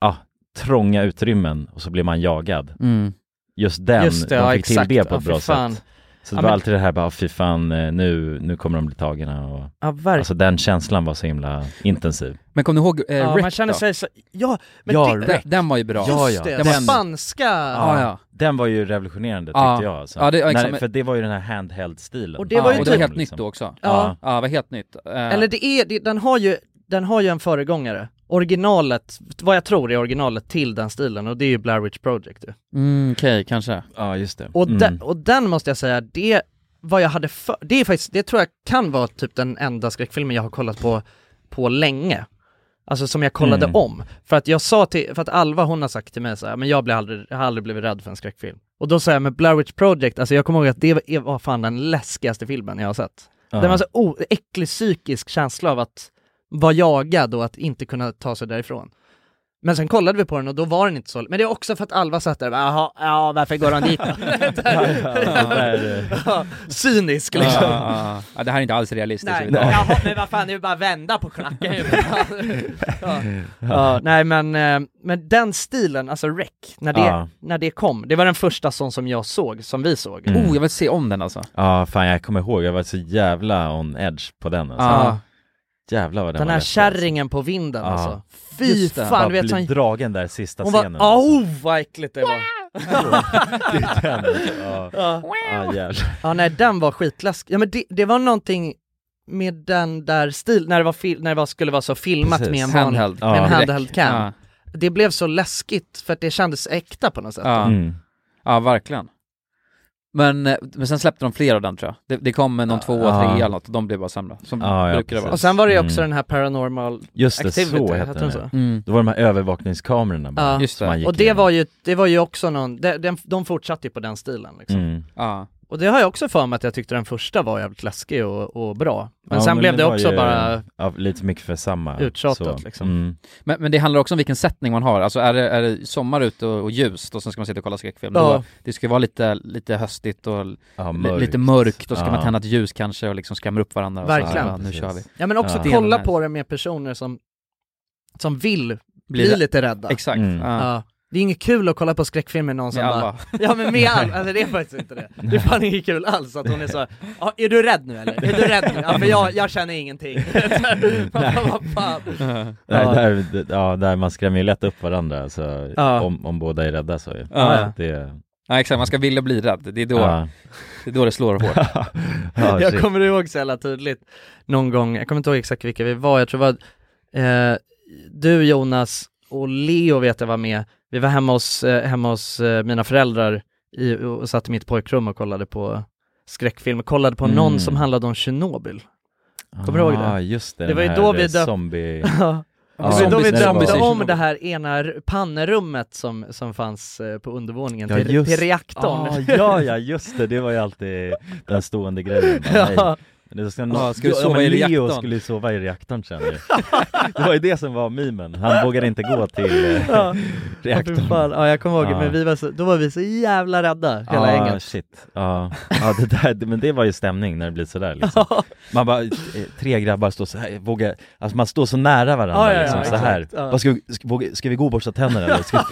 Speaker 3: ja, trånga utrymmen och så blev man jagad.
Speaker 1: Mm.
Speaker 3: Just den,
Speaker 7: Just det,
Speaker 3: de
Speaker 7: ja,
Speaker 3: fick
Speaker 7: exakt.
Speaker 3: till det på
Speaker 7: Ja,
Speaker 3: ett
Speaker 7: fy
Speaker 3: bra
Speaker 7: fan.
Speaker 3: sätt. Så det
Speaker 7: Ja,
Speaker 3: var
Speaker 7: men-
Speaker 3: alltid det här bara, "Ah, fy fan, eh, nu, nu kommer de bli tagna och
Speaker 7: Ja, verkligen.
Speaker 3: Alltså den känslan var så himla intensiv.
Speaker 1: men kom ni ihåg eh,
Speaker 7: Ja,
Speaker 1: Wreck
Speaker 7: man känner
Speaker 1: då?
Speaker 7: sig så, ja, men
Speaker 3: Ja,
Speaker 7: det...
Speaker 1: Den, den var ju bra.
Speaker 3: Ja, ja.
Speaker 7: Det,
Speaker 1: Den var-
Speaker 7: spanska!
Speaker 1: Ja, ja.
Speaker 3: Den var ju revolutionerande tyckte
Speaker 1: Ja.
Speaker 3: jag alltså.
Speaker 1: Ja, det- ja, exakt,
Speaker 3: När,
Speaker 1: men-
Speaker 3: för det var ju den här handheld-stilen.
Speaker 7: Och det var ju
Speaker 1: och det var
Speaker 7: typ-
Speaker 1: helt
Speaker 3: liksom-
Speaker 1: nytt då också.
Speaker 7: Ja.
Speaker 1: ja det var helt nytt. Eh,
Speaker 7: Eller det är, det, den, har ju, den har ju en föregångare. Originalet, vad jag tror är originalet till den stilen och det är ju Blair Witch Project ju.
Speaker 1: Mm, okej, kanske.
Speaker 3: Ja, just det.
Speaker 7: Och, den, och den måste jag säga, det vad jag hade för, det är faktiskt, det tror jag kan vara typ den enda skräckfilmen jag har kollat på på länge. Alltså som jag kollade
Speaker 1: Mm.
Speaker 7: om. För att jag sa till, för att Alva hon har sagt till mig så här, men jag, blir aldrig, jag har aldrig blivit rädd för en skräckfilm. Och då sa jag, men Blair Witch Project, alltså jag kommer ihåg att det var, var fan den läskigaste filmen jag har sett.
Speaker 3: Ja.
Speaker 7: Den var så o- äcklig psykisk känsla av att vara jagad och att inte kunna ta sig därifrån. Men sen kollade vi på den och då var den inte så, men det är också för att Alva satt där och bara, jaha, ja varför går de dit då?"
Speaker 3: eh.
Speaker 7: Ja, Cynisk
Speaker 1: Ja,
Speaker 7: liksom.
Speaker 1: ja, ja. ja, det här är inte alls realistiskt.
Speaker 7: Nej,
Speaker 1: överhuvudtaget.
Speaker 7: jaha, men vad fan, det är ju bara att vända på klacken. ja. ja, nej men, eh, men den stilen, alltså Rec, när det,
Speaker 3: Ja.
Speaker 7: när det kom, det var den första sån som jag såg, som vi såg.
Speaker 3: Mm. Oh, jag
Speaker 1: vill se om den alltså.
Speaker 3: Ja, fan jag kommer ihåg, jag var så jävla on edge på den alltså.
Speaker 7: Ja.
Speaker 3: Jävlar vad den,
Speaker 7: Den,
Speaker 3: var
Speaker 7: här
Speaker 3: läskig.
Speaker 1: alltså.
Speaker 7: kärringen på vinden
Speaker 3: Ja.
Speaker 7: alltså. Fy
Speaker 3: Just det.
Speaker 7: fan, du
Speaker 3: Bara
Speaker 7: vet
Speaker 3: bli
Speaker 7: sån...
Speaker 3: dragen där sista
Speaker 7: Hon var,
Speaker 3: scenen.
Speaker 7: åh
Speaker 1: alltså.
Speaker 7: oh, vad äckligt det var.
Speaker 3: Det är den, alltså. Ja, ja jävlar.
Speaker 7: Ja nej den var skitläskig, ja men det, det var någonting med den där stil när det var, fil- när det var, skulle vara så filmat
Speaker 1: Precis.
Speaker 7: med en vanlig,
Speaker 1: Handheld.
Speaker 7: med en
Speaker 1: Ja.
Speaker 7: handheld cam.
Speaker 1: Ja.
Speaker 7: Det blev så läskigt för att det kändes äkta på något sätt.
Speaker 1: Ja,
Speaker 3: Mm.
Speaker 1: ja verkligen. Men, eh, men sen släppte de fler av den tror jag. Det, det kom någon tvåa,
Speaker 3: Ja.
Speaker 1: trea eller något och de blev bara sämre. Som
Speaker 3: Ja, ja,
Speaker 1: brukar det vara.
Speaker 3: precis.
Speaker 7: Och sen var det ju också
Speaker 3: Mm.
Speaker 7: den här paranormal
Speaker 3: Just det,
Speaker 7: activity,
Speaker 3: så hette den. Mm. Då var de här övervakningskamerorna bara.
Speaker 7: Ja.
Speaker 3: som man gick
Speaker 7: Och det
Speaker 3: in.
Speaker 7: var ju, det var ju också någon, de, de, de fortsatte ju på den stilen liksom.
Speaker 3: Mm.
Speaker 1: Ja.
Speaker 7: Och det har jag också för mig att jag tyckte den första var jävligt läskig och, och bra. Men
Speaker 3: Ja,
Speaker 7: sen blev det
Speaker 3: var
Speaker 7: också
Speaker 3: ju,
Speaker 7: bara
Speaker 3: ja, lite mycket för samma
Speaker 7: uttjatat
Speaker 3: så.
Speaker 7: liksom.
Speaker 3: Mm.
Speaker 1: Men, men det handlar också om vilken sättning man har, alltså är det, är det sommar ute och, och ljust och sen ska man sitta och kolla skräckfilm?
Speaker 7: Ja.
Speaker 1: Då, det ska ju vara lite, lite höstigt och li-
Speaker 3: mörkt.
Speaker 1: lite mörkt och ska man
Speaker 3: Ja.
Speaker 1: tända ett ljus kanske och liksom skrämma upp varandra och
Speaker 7: Verkligen.
Speaker 1: Så, här,
Speaker 7: Ja,
Speaker 1: ja, nu
Speaker 3: precis.
Speaker 1: kör vi.
Speaker 7: Ja men också
Speaker 1: Det är
Speaker 7: kolla
Speaker 1: den här-
Speaker 7: på det med personer som, som vill bli,
Speaker 1: Bli-
Speaker 7: lite rädda.
Speaker 1: Exakt.
Speaker 3: Mm.
Speaker 1: Ja.
Speaker 7: Ja. Det är inget kul att kolla på skräckfilmer med någon som
Speaker 1: Med
Speaker 7: bara,
Speaker 1: alla.
Speaker 7: ja men med alla, alltså det är faktiskt inte det. Det är fan inget kul alls att hon är så, ja, är du rädd nu eller? Är du rädd nu? Ja för jag, jag känner ingenting. Vad fan, vad fan.
Speaker 3: Nej,
Speaker 7: Ja.
Speaker 3: där, d- ja, där man skrämmer ju lätt upp varandra alltså,
Speaker 1: Ja.
Speaker 3: om, om båda är rädda så ju.
Speaker 1: Ja, ja.
Speaker 3: Det,
Speaker 1: Ja, exakt, man ska vilja bli rädd, det är då,
Speaker 3: Ja.
Speaker 1: det, är då det slår hårt.
Speaker 3: Ja,
Speaker 7: jag
Speaker 3: shit.
Speaker 7: kommer ihåg så jävla tydligt någon gång, jag kommer inte ihåg exakt vilka vi var, jag tror det var eh, du Jonas och Leo vet jag var med, vi var hemma hos, eh, hemma hos eh, mina föräldrar i, och satt i mitt pojkrum och kollade på skräckfilm, kollade på någon
Speaker 3: Mm.
Speaker 7: som handlade om Tjernobyl. Kommer du ihåg det?
Speaker 3: Ah, just det,
Speaker 7: det
Speaker 3: den
Speaker 7: var ju
Speaker 3: här,
Speaker 7: då vi
Speaker 3: eh,
Speaker 7: döpte...
Speaker 3: zombie-
Speaker 7: ja. Det
Speaker 3: Ja,
Speaker 7: var ju då vi
Speaker 3: zombie-
Speaker 7: döpte
Speaker 3: zombie-
Speaker 7: om det här ena r- pannrummet som, som fanns eh, på undervåningen
Speaker 3: Ja,
Speaker 7: till,
Speaker 3: just-
Speaker 7: till reaktorn.
Speaker 3: Ah, ja, ja, just det, det var ju alltid den stående grejen.
Speaker 7: Ja.
Speaker 3: Bara, nej. Men det ska,
Speaker 1: Ja, ska du
Speaker 3: Ja,
Speaker 1: sova
Speaker 3: men
Speaker 1: i
Speaker 3: Leo
Speaker 1: reaktorn?
Speaker 3: skulle ju sova i reaktorn sen ju. Det var ju det som var mimen, han vågade inte gå till eh,
Speaker 7: Ja. Ja, fy
Speaker 3: reaktorn.
Speaker 7: fan. ja jag kommer ihåg,
Speaker 3: Ja.
Speaker 7: men vi var så, då var vi så jävla rädda, hela
Speaker 3: ah,
Speaker 7: gänget.
Speaker 3: shit. Ja, ja det där, det- men det var ju stämning när det blir sådär liksom. Man bara, eh, tre grabbar står så här, vågar, alltså man står så nära varandra
Speaker 7: Ja, ja, ja,
Speaker 3: liksom, så
Speaker 7: exakt.
Speaker 3: här.
Speaker 7: Ja.
Speaker 3: Vad ska, vi, ska, våga, ska vi gå och borsta tänderna eller? Ska,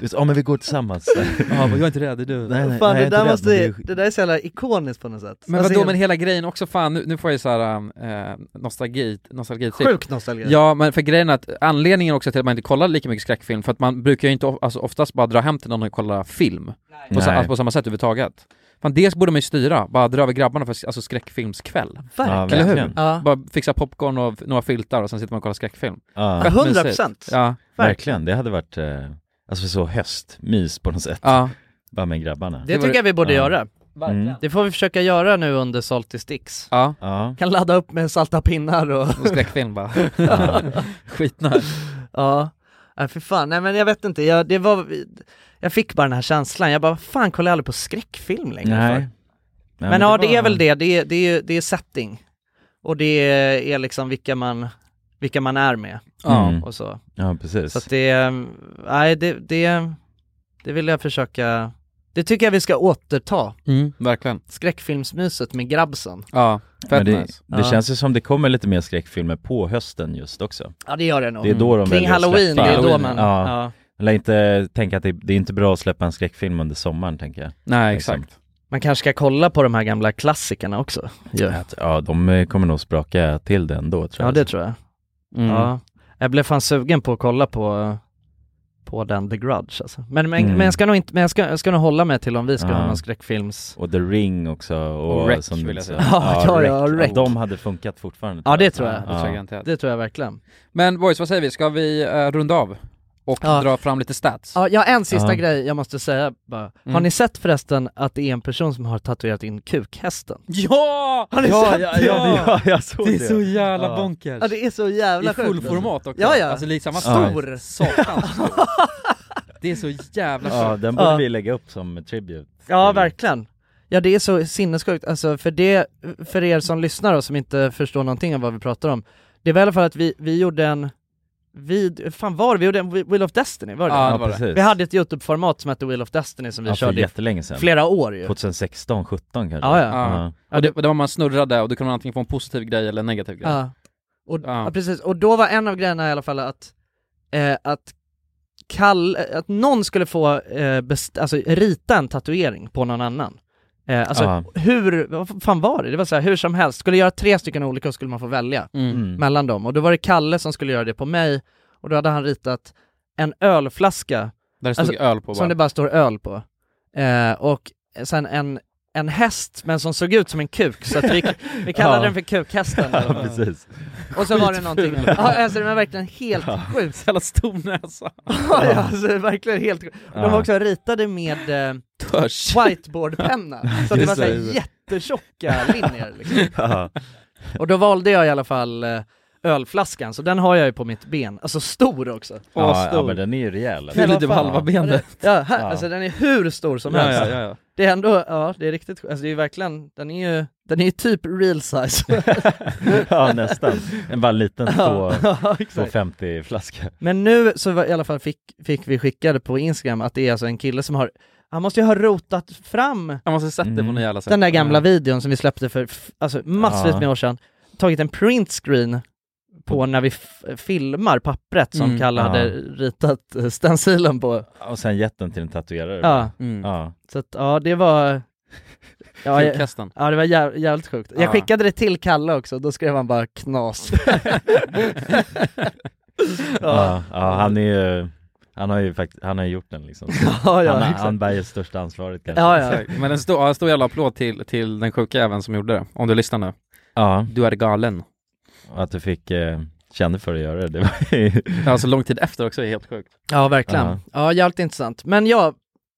Speaker 3: vi- ja men vi går tillsammans.
Speaker 1: Ja, men jag är inte rädd, det är du.
Speaker 3: Nej, nej, nej,
Speaker 7: Fan
Speaker 3: jag är
Speaker 7: det
Speaker 3: inte
Speaker 7: där
Speaker 3: rädd, men
Speaker 7: måste,
Speaker 3: det är
Speaker 7: ju- det där är så jävla ikoniskt på något sätt.
Speaker 1: Men
Speaker 7: Alltså,
Speaker 1: vadå, men
Speaker 7: helt-
Speaker 1: hela grejen också, fan nu, nu får jag ju såhär eh, nostalgi, nostalgi
Speaker 7: Sjuk nostalgi.
Speaker 1: Ja men för grejen är att anledningen också till att man inte kollar lika mycket skräckfilm, för att man brukar ju inte of- alltså oftast bara dra hem till någon och kolla film på, sa,
Speaker 3: Nej.
Speaker 1: alltså på samma sätt överhuvudtaget. Fan det borde man ju styra, bara dra över grabbarna för alltså skräckfilmskväll.
Speaker 7: Verkligen.
Speaker 1: Eller hur?
Speaker 3: verkligen.
Speaker 7: Ja.
Speaker 1: Bara fixa popcorn och f- några filtar och sen sitter man och kollar skräckfilm.
Speaker 3: Ja.
Speaker 1: Fett
Speaker 7: 100%.
Speaker 1: mysigt. Ja.
Speaker 3: Verkligen, det hade varit eh, alltså så höstmys på något sätt.
Speaker 1: Ja.
Speaker 3: Bara med grabbarna.
Speaker 7: Det tycker jag vi borde
Speaker 3: Ja.
Speaker 7: göra.
Speaker 3: Verkligen. Mm.
Speaker 7: Det får vi försöka göra nu under Salty Sticks.
Speaker 1: Ja.
Speaker 3: Ja.
Speaker 7: Kan ladda upp med salta pinnar och...
Speaker 1: Och skräckfilm bara.
Speaker 7: Ja.
Speaker 1: Skitnär.
Speaker 7: ja. Nej för fan, nej men jag vet inte, jag, det var, jag fick bara den här känslan, jag bara fan kollar jag aldrig på skräckfilm längre för?
Speaker 3: Nej.
Speaker 7: Men, ja, det är väl det, det är, det är, det är setting. Och det är liksom vilka man, vilka man är med.
Speaker 3: Ja.
Speaker 7: Och så.
Speaker 3: Ja, precis.
Speaker 7: Så att det, ehm, nej det, det, det vill jag försöka, det tycker jag vi ska återta.
Speaker 1: Mm, verkligen.
Speaker 7: Skräckfilmsmyset med grabbsen.
Speaker 1: Ja, fett
Speaker 3: Men det,
Speaker 1: nice.
Speaker 3: det
Speaker 7: Ja.
Speaker 3: känns ju som det kommer lite mer skräckfilmer på hösten just också.
Speaker 7: Ja det gör det nog.
Speaker 3: Det är då de
Speaker 7: Kring
Speaker 3: väljer att
Speaker 7: halloween, det
Speaker 3: släppa-
Speaker 7: är då man,
Speaker 3: Ja.
Speaker 7: ja.
Speaker 3: Jag lär inte tänka att det, det är inte bra att släppa en skräckfilm under sommaren tänker jag.
Speaker 1: Nej
Speaker 3: Liksom.
Speaker 1: exakt.
Speaker 7: Man kanske ska kolla på de här gamla klassikerna också. Ja,
Speaker 3: Att, ja, de eh, kommer nog spraka till det ändå tror
Speaker 7: ja
Speaker 3: jag.
Speaker 7: det tror jag.
Speaker 1: Mm.
Speaker 7: Ja. Jag blev fan sugen på att kolla på, på den The Grudge alltså. Men, men,
Speaker 3: Mm.
Speaker 7: men jag ska nog inte, men jag ska, jag ska nog hålla mig till om vi ska
Speaker 3: Ja.
Speaker 7: ha någon skräckfilms...
Speaker 3: Och The Ring också. Och,
Speaker 1: Och Wreck,
Speaker 3: som,
Speaker 1: vill jag säga.
Speaker 7: Ja, ja, ja, Wreck.
Speaker 3: De hade funkat fortfarande.
Speaker 7: Ja det
Speaker 1: Ja,
Speaker 7: tror jag.
Speaker 1: det tror jag garanterat.
Speaker 7: Det tror jag verkligen.
Speaker 1: Men boys, vad säger vi? Ska vi eh, runda av? Och
Speaker 7: Ja.
Speaker 1: dra fram lite stats?
Speaker 7: Ja, jag har en sista
Speaker 3: Ja.
Speaker 7: grej jag måste säga bara. Har
Speaker 1: Mm.
Speaker 7: ni sett förresten att det är en person som har tatuerat in kukhästen?
Speaker 1: Ja!
Speaker 7: Har ni
Speaker 1: ja,
Speaker 7: sett
Speaker 1: ja,
Speaker 7: det?
Speaker 1: ja,
Speaker 3: Ja, jag såg
Speaker 1: Det är så jävla
Speaker 3: Ja.
Speaker 1: bonkers!
Speaker 7: Ja det är så jävla
Speaker 1: I full
Speaker 7: sjukt alltså.
Speaker 1: format också,
Speaker 7: Ja, ja.
Speaker 1: alltså liksom man
Speaker 3: Ja.
Speaker 7: Stor!
Speaker 1: satans stor. Det är så jävla
Speaker 3: Ja,
Speaker 1: sjukt.
Speaker 3: den borde
Speaker 7: Ja.
Speaker 3: vi lägga upp som tribute.
Speaker 7: Ja
Speaker 3: till-
Speaker 7: verkligen. Ja det är så sinnessjukt, alltså för det, för er som lyssnar och som inte förstår någonting av vad vi pratar om. Det var i alla fall att vi, vi gjorde en, vi, fan var det? Vi gjorde en Wheel of Destiny, var det
Speaker 1: Ja,
Speaker 7: det
Speaker 1: det
Speaker 3: Ja,
Speaker 1: var det.
Speaker 3: precis.
Speaker 7: Vi hade ett YouTube-format som hette Wheel of Destiny som vi
Speaker 3: ja, för
Speaker 7: körde i
Speaker 3: jättelänge sedan.
Speaker 7: flera år ju.
Speaker 3: 2016, 17 kanske?
Speaker 7: Ja, ja.
Speaker 1: Ja. Ja, det, det var man snurrade och då kunde man antingen få en positiv grej eller en negativ grej.
Speaker 7: Ja. Och,
Speaker 1: Ja.
Speaker 7: ja, precis. Och då var en av grejerna i alla fall att, eh, att kall, eh, att någon skulle få eh, best, alltså, rita en tatuering på någon annan. Eh, alltså
Speaker 3: Ja.
Speaker 7: hur, vad fan var det? Det var så här, hur som helst, skulle göra tre stycken olika och skulle man få välja
Speaker 1: Mm.
Speaker 3: Mm.
Speaker 7: mellan dem. Och då var det Kalle som skulle göra det på mig, och då hade han ritat en ölflaska
Speaker 1: Där det stod
Speaker 7: Alltså,
Speaker 1: öl på bara.
Speaker 7: som det bara står öl på. Eh, och sen en, en häst, men som såg ut som en kuk, så att vi, vi kallade
Speaker 3: Ja.
Speaker 7: den för kukhästen.
Speaker 3: Ja, precis.
Speaker 7: Och så var det någonting,
Speaker 1: Skitful.
Speaker 7: ja, alltså den var verkligen helt
Speaker 3: Ja.
Speaker 7: sjukt.
Speaker 1: Jävla stor näsa.
Speaker 7: Ja, ja, alltså, verkligen helt sjukt. De var
Speaker 3: Ja.
Speaker 7: också ritade med eh,
Speaker 1: Törs.
Speaker 7: whiteboardpenna, så att det
Speaker 3: Just
Speaker 7: var så här
Speaker 3: det.
Speaker 7: jättetjocka linjer. Liksom.
Speaker 3: Ja.
Speaker 7: Och då valde jag i alla fall eh, ölflaskan, så den har jag ju på mitt ben. Alltså stor också.
Speaker 1: Åh,
Speaker 3: Ja, ja,
Speaker 1: stor.
Speaker 3: men den är ju rejäl.
Speaker 1: Fyller typ halva benet.
Speaker 7: Ja, här,
Speaker 3: Ja.
Speaker 7: Alltså den är hur stor som
Speaker 1: Ja,
Speaker 7: helst.
Speaker 1: ja, ja, ja.
Speaker 7: det är ändå, ja det är riktigt, alltså det är ju verkligen, den är ju, den är ju typ real size.
Speaker 3: ja nästan, en bara liten
Speaker 7: Ja, ja, exakt.
Speaker 3: 250 flaska.
Speaker 7: Men nu så var, i alla fall fick, fick vi skickade på Instagram att det är alltså en kille som har, han måste ju ha rotat fram
Speaker 1: Han måste sätta det på något jävla sätt. Mm.
Speaker 7: den där gamla
Speaker 3: Mm.
Speaker 7: videon som vi släppte för f- alltså, massvis
Speaker 1: Ja.
Speaker 7: med år sedan, tagit en printscreen på när vi f- filmar pappret som
Speaker 3: Mm.
Speaker 7: Kalle
Speaker 3: Ja.
Speaker 7: hade ritat eh, stencilen på.
Speaker 3: Och sen gett den till en tatuerare.
Speaker 7: Ja.
Speaker 3: ja.
Speaker 7: Så att, ja det var... Ja, jag-
Speaker 1: Sjukkasten.
Speaker 7: ja det var jäv, jävligt sjukt.
Speaker 1: Ja.
Speaker 7: Jag skickade det till Kalle också, då skrev han bara knas.
Speaker 3: Ja, ja, han är ju, han har ju faktiskt, han har ju gjort den liksom.
Speaker 7: Ja, ja,
Speaker 3: han, har-
Speaker 7: exakt.
Speaker 3: han bär ju största ansvaret kanske.
Speaker 1: Exakt. Men en stor, ja, en stor jävla applåd till, till den sjuka även som gjorde det, om du lyssnar nu.
Speaker 3: Ja.
Speaker 1: Du är galen.
Speaker 3: Och att du fick, eh, kände för att göra det, det var ju...
Speaker 1: Alltså lång tid efter också är helt sjukt.
Speaker 7: Ja verkligen.
Speaker 1: Ja.
Speaker 7: Ja, jävligt intressant. Men ja,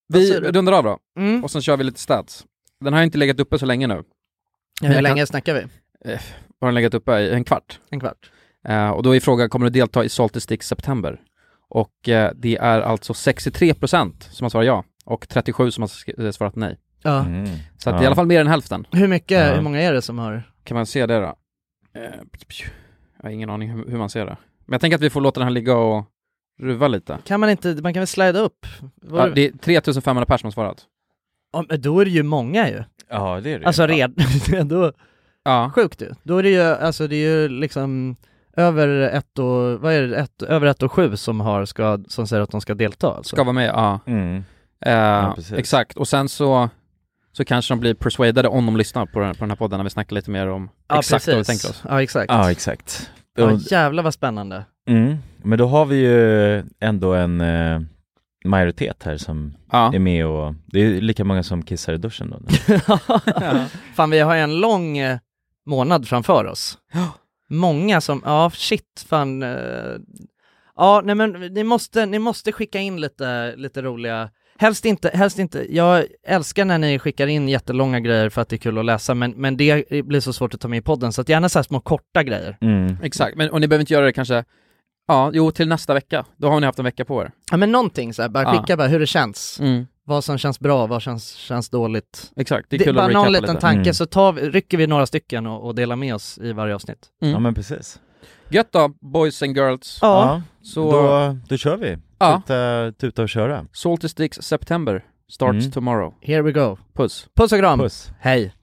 Speaker 1: Vi
Speaker 7: vad sa du?
Speaker 1: rundar av då,
Speaker 7: Mm.
Speaker 1: och sen kör vi lite stats. Den har ju inte legat uppe så länge nu.
Speaker 7: hur
Speaker 1: Jag
Speaker 7: länge
Speaker 1: kan-
Speaker 7: snackar vi?
Speaker 1: Eh, Har den legat uppe i en kvart?
Speaker 7: En kvart.
Speaker 1: Eh, och då är frågan, kommer du delta i Salty Stick September? Och eh, det är alltså 63% som har svarat ja, och 37% som har sk- eh, svarat nej.
Speaker 7: Ja.
Speaker 3: Mm.
Speaker 1: Så att det är i alla fall mer än hälften.
Speaker 7: Hur mycket,
Speaker 1: Mm. Ja.
Speaker 7: hur många är det som har?
Speaker 1: Kan man se det då? Eh, Jag har ingen aning hur hur man ser det. Men jag tänker att vi får låta den här ligga och ruva lite.
Speaker 7: Kan man inte, man kan väl slida upp? Var-
Speaker 1: Ja, det är 3500 personer som har svarat.
Speaker 7: Ja, men då är det ju många ju.
Speaker 3: Ja det är det
Speaker 7: Alltså redan, då,
Speaker 1: ja.
Speaker 7: sjukt ju. Då är det ju, alltså det är ju liksom över ett och, vad är det, ett, över ett och sju som har, ska, som säger att de ska delta alltså.
Speaker 1: Ska vara med, ja.
Speaker 3: Mm.
Speaker 1: Eh,
Speaker 3: precis.
Speaker 1: exakt, och sen så, så kanske de blir persuadade om de lyssnar på den, på den här podden när vi snackar lite mer om
Speaker 7: Ja,
Speaker 1: exakt vad vi
Speaker 7: precis.
Speaker 1: tänker oss.
Speaker 7: Ja exakt.
Speaker 3: Ja, exakt.
Speaker 7: Ja
Speaker 3: Och-
Speaker 7: jävlar vad spännande.
Speaker 3: Mm. Men då har vi ju ändå en eh, majoritet här som är med och det är lika många som kissar i duschen då. Mm. nu.
Speaker 7: Fan vi har ju en lång eh, månad framför oss. Många som, ja shit fan. eh, Ja nej men ni måste, ni måste skicka in lite, lite roliga, helst inte, helst inte, jag älskar när ni skickar in jättelånga grejer för att det är kul att läsa men, men det blir så svårt att ta med i podden så att gärna så här små korta grejer.
Speaker 1: Exakt, men, och ni behöver inte göra det kanske, ja, jo till nästa vecka. Då har ni haft en vecka på er.
Speaker 7: Ja men någonting så här, bara
Speaker 1: Ja.
Speaker 7: skicka bara hur det känns.
Speaker 1: Mm.
Speaker 7: Vad som känns bra, vad känns, känns dåligt.
Speaker 1: Exakt, det är kul att
Speaker 7: bara
Speaker 1: recapa
Speaker 7: någon liten
Speaker 1: lite.
Speaker 7: tanke
Speaker 1: Mm.
Speaker 7: så tar, vi- rycker vi några stycken och, och delar med oss i varje avsnitt.
Speaker 1: Mm. Ja, men
Speaker 3: precis.
Speaker 1: Gött då, boys and girls.
Speaker 3: Ja.
Speaker 1: Så,
Speaker 3: Då, då kör vi.
Speaker 1: Ja.
Speaker 3: Tuta, tuta och köra.
Speaker 1: Salty Sticks September starts
Speaker 3: Mm.
Speaker 1: tomorrow.
Speaker 7: Here we go.
Speaker 1: Puss.
Speaker 7: Puss och kram.
Speaker 3: Puss.
Speaker 7: Hej.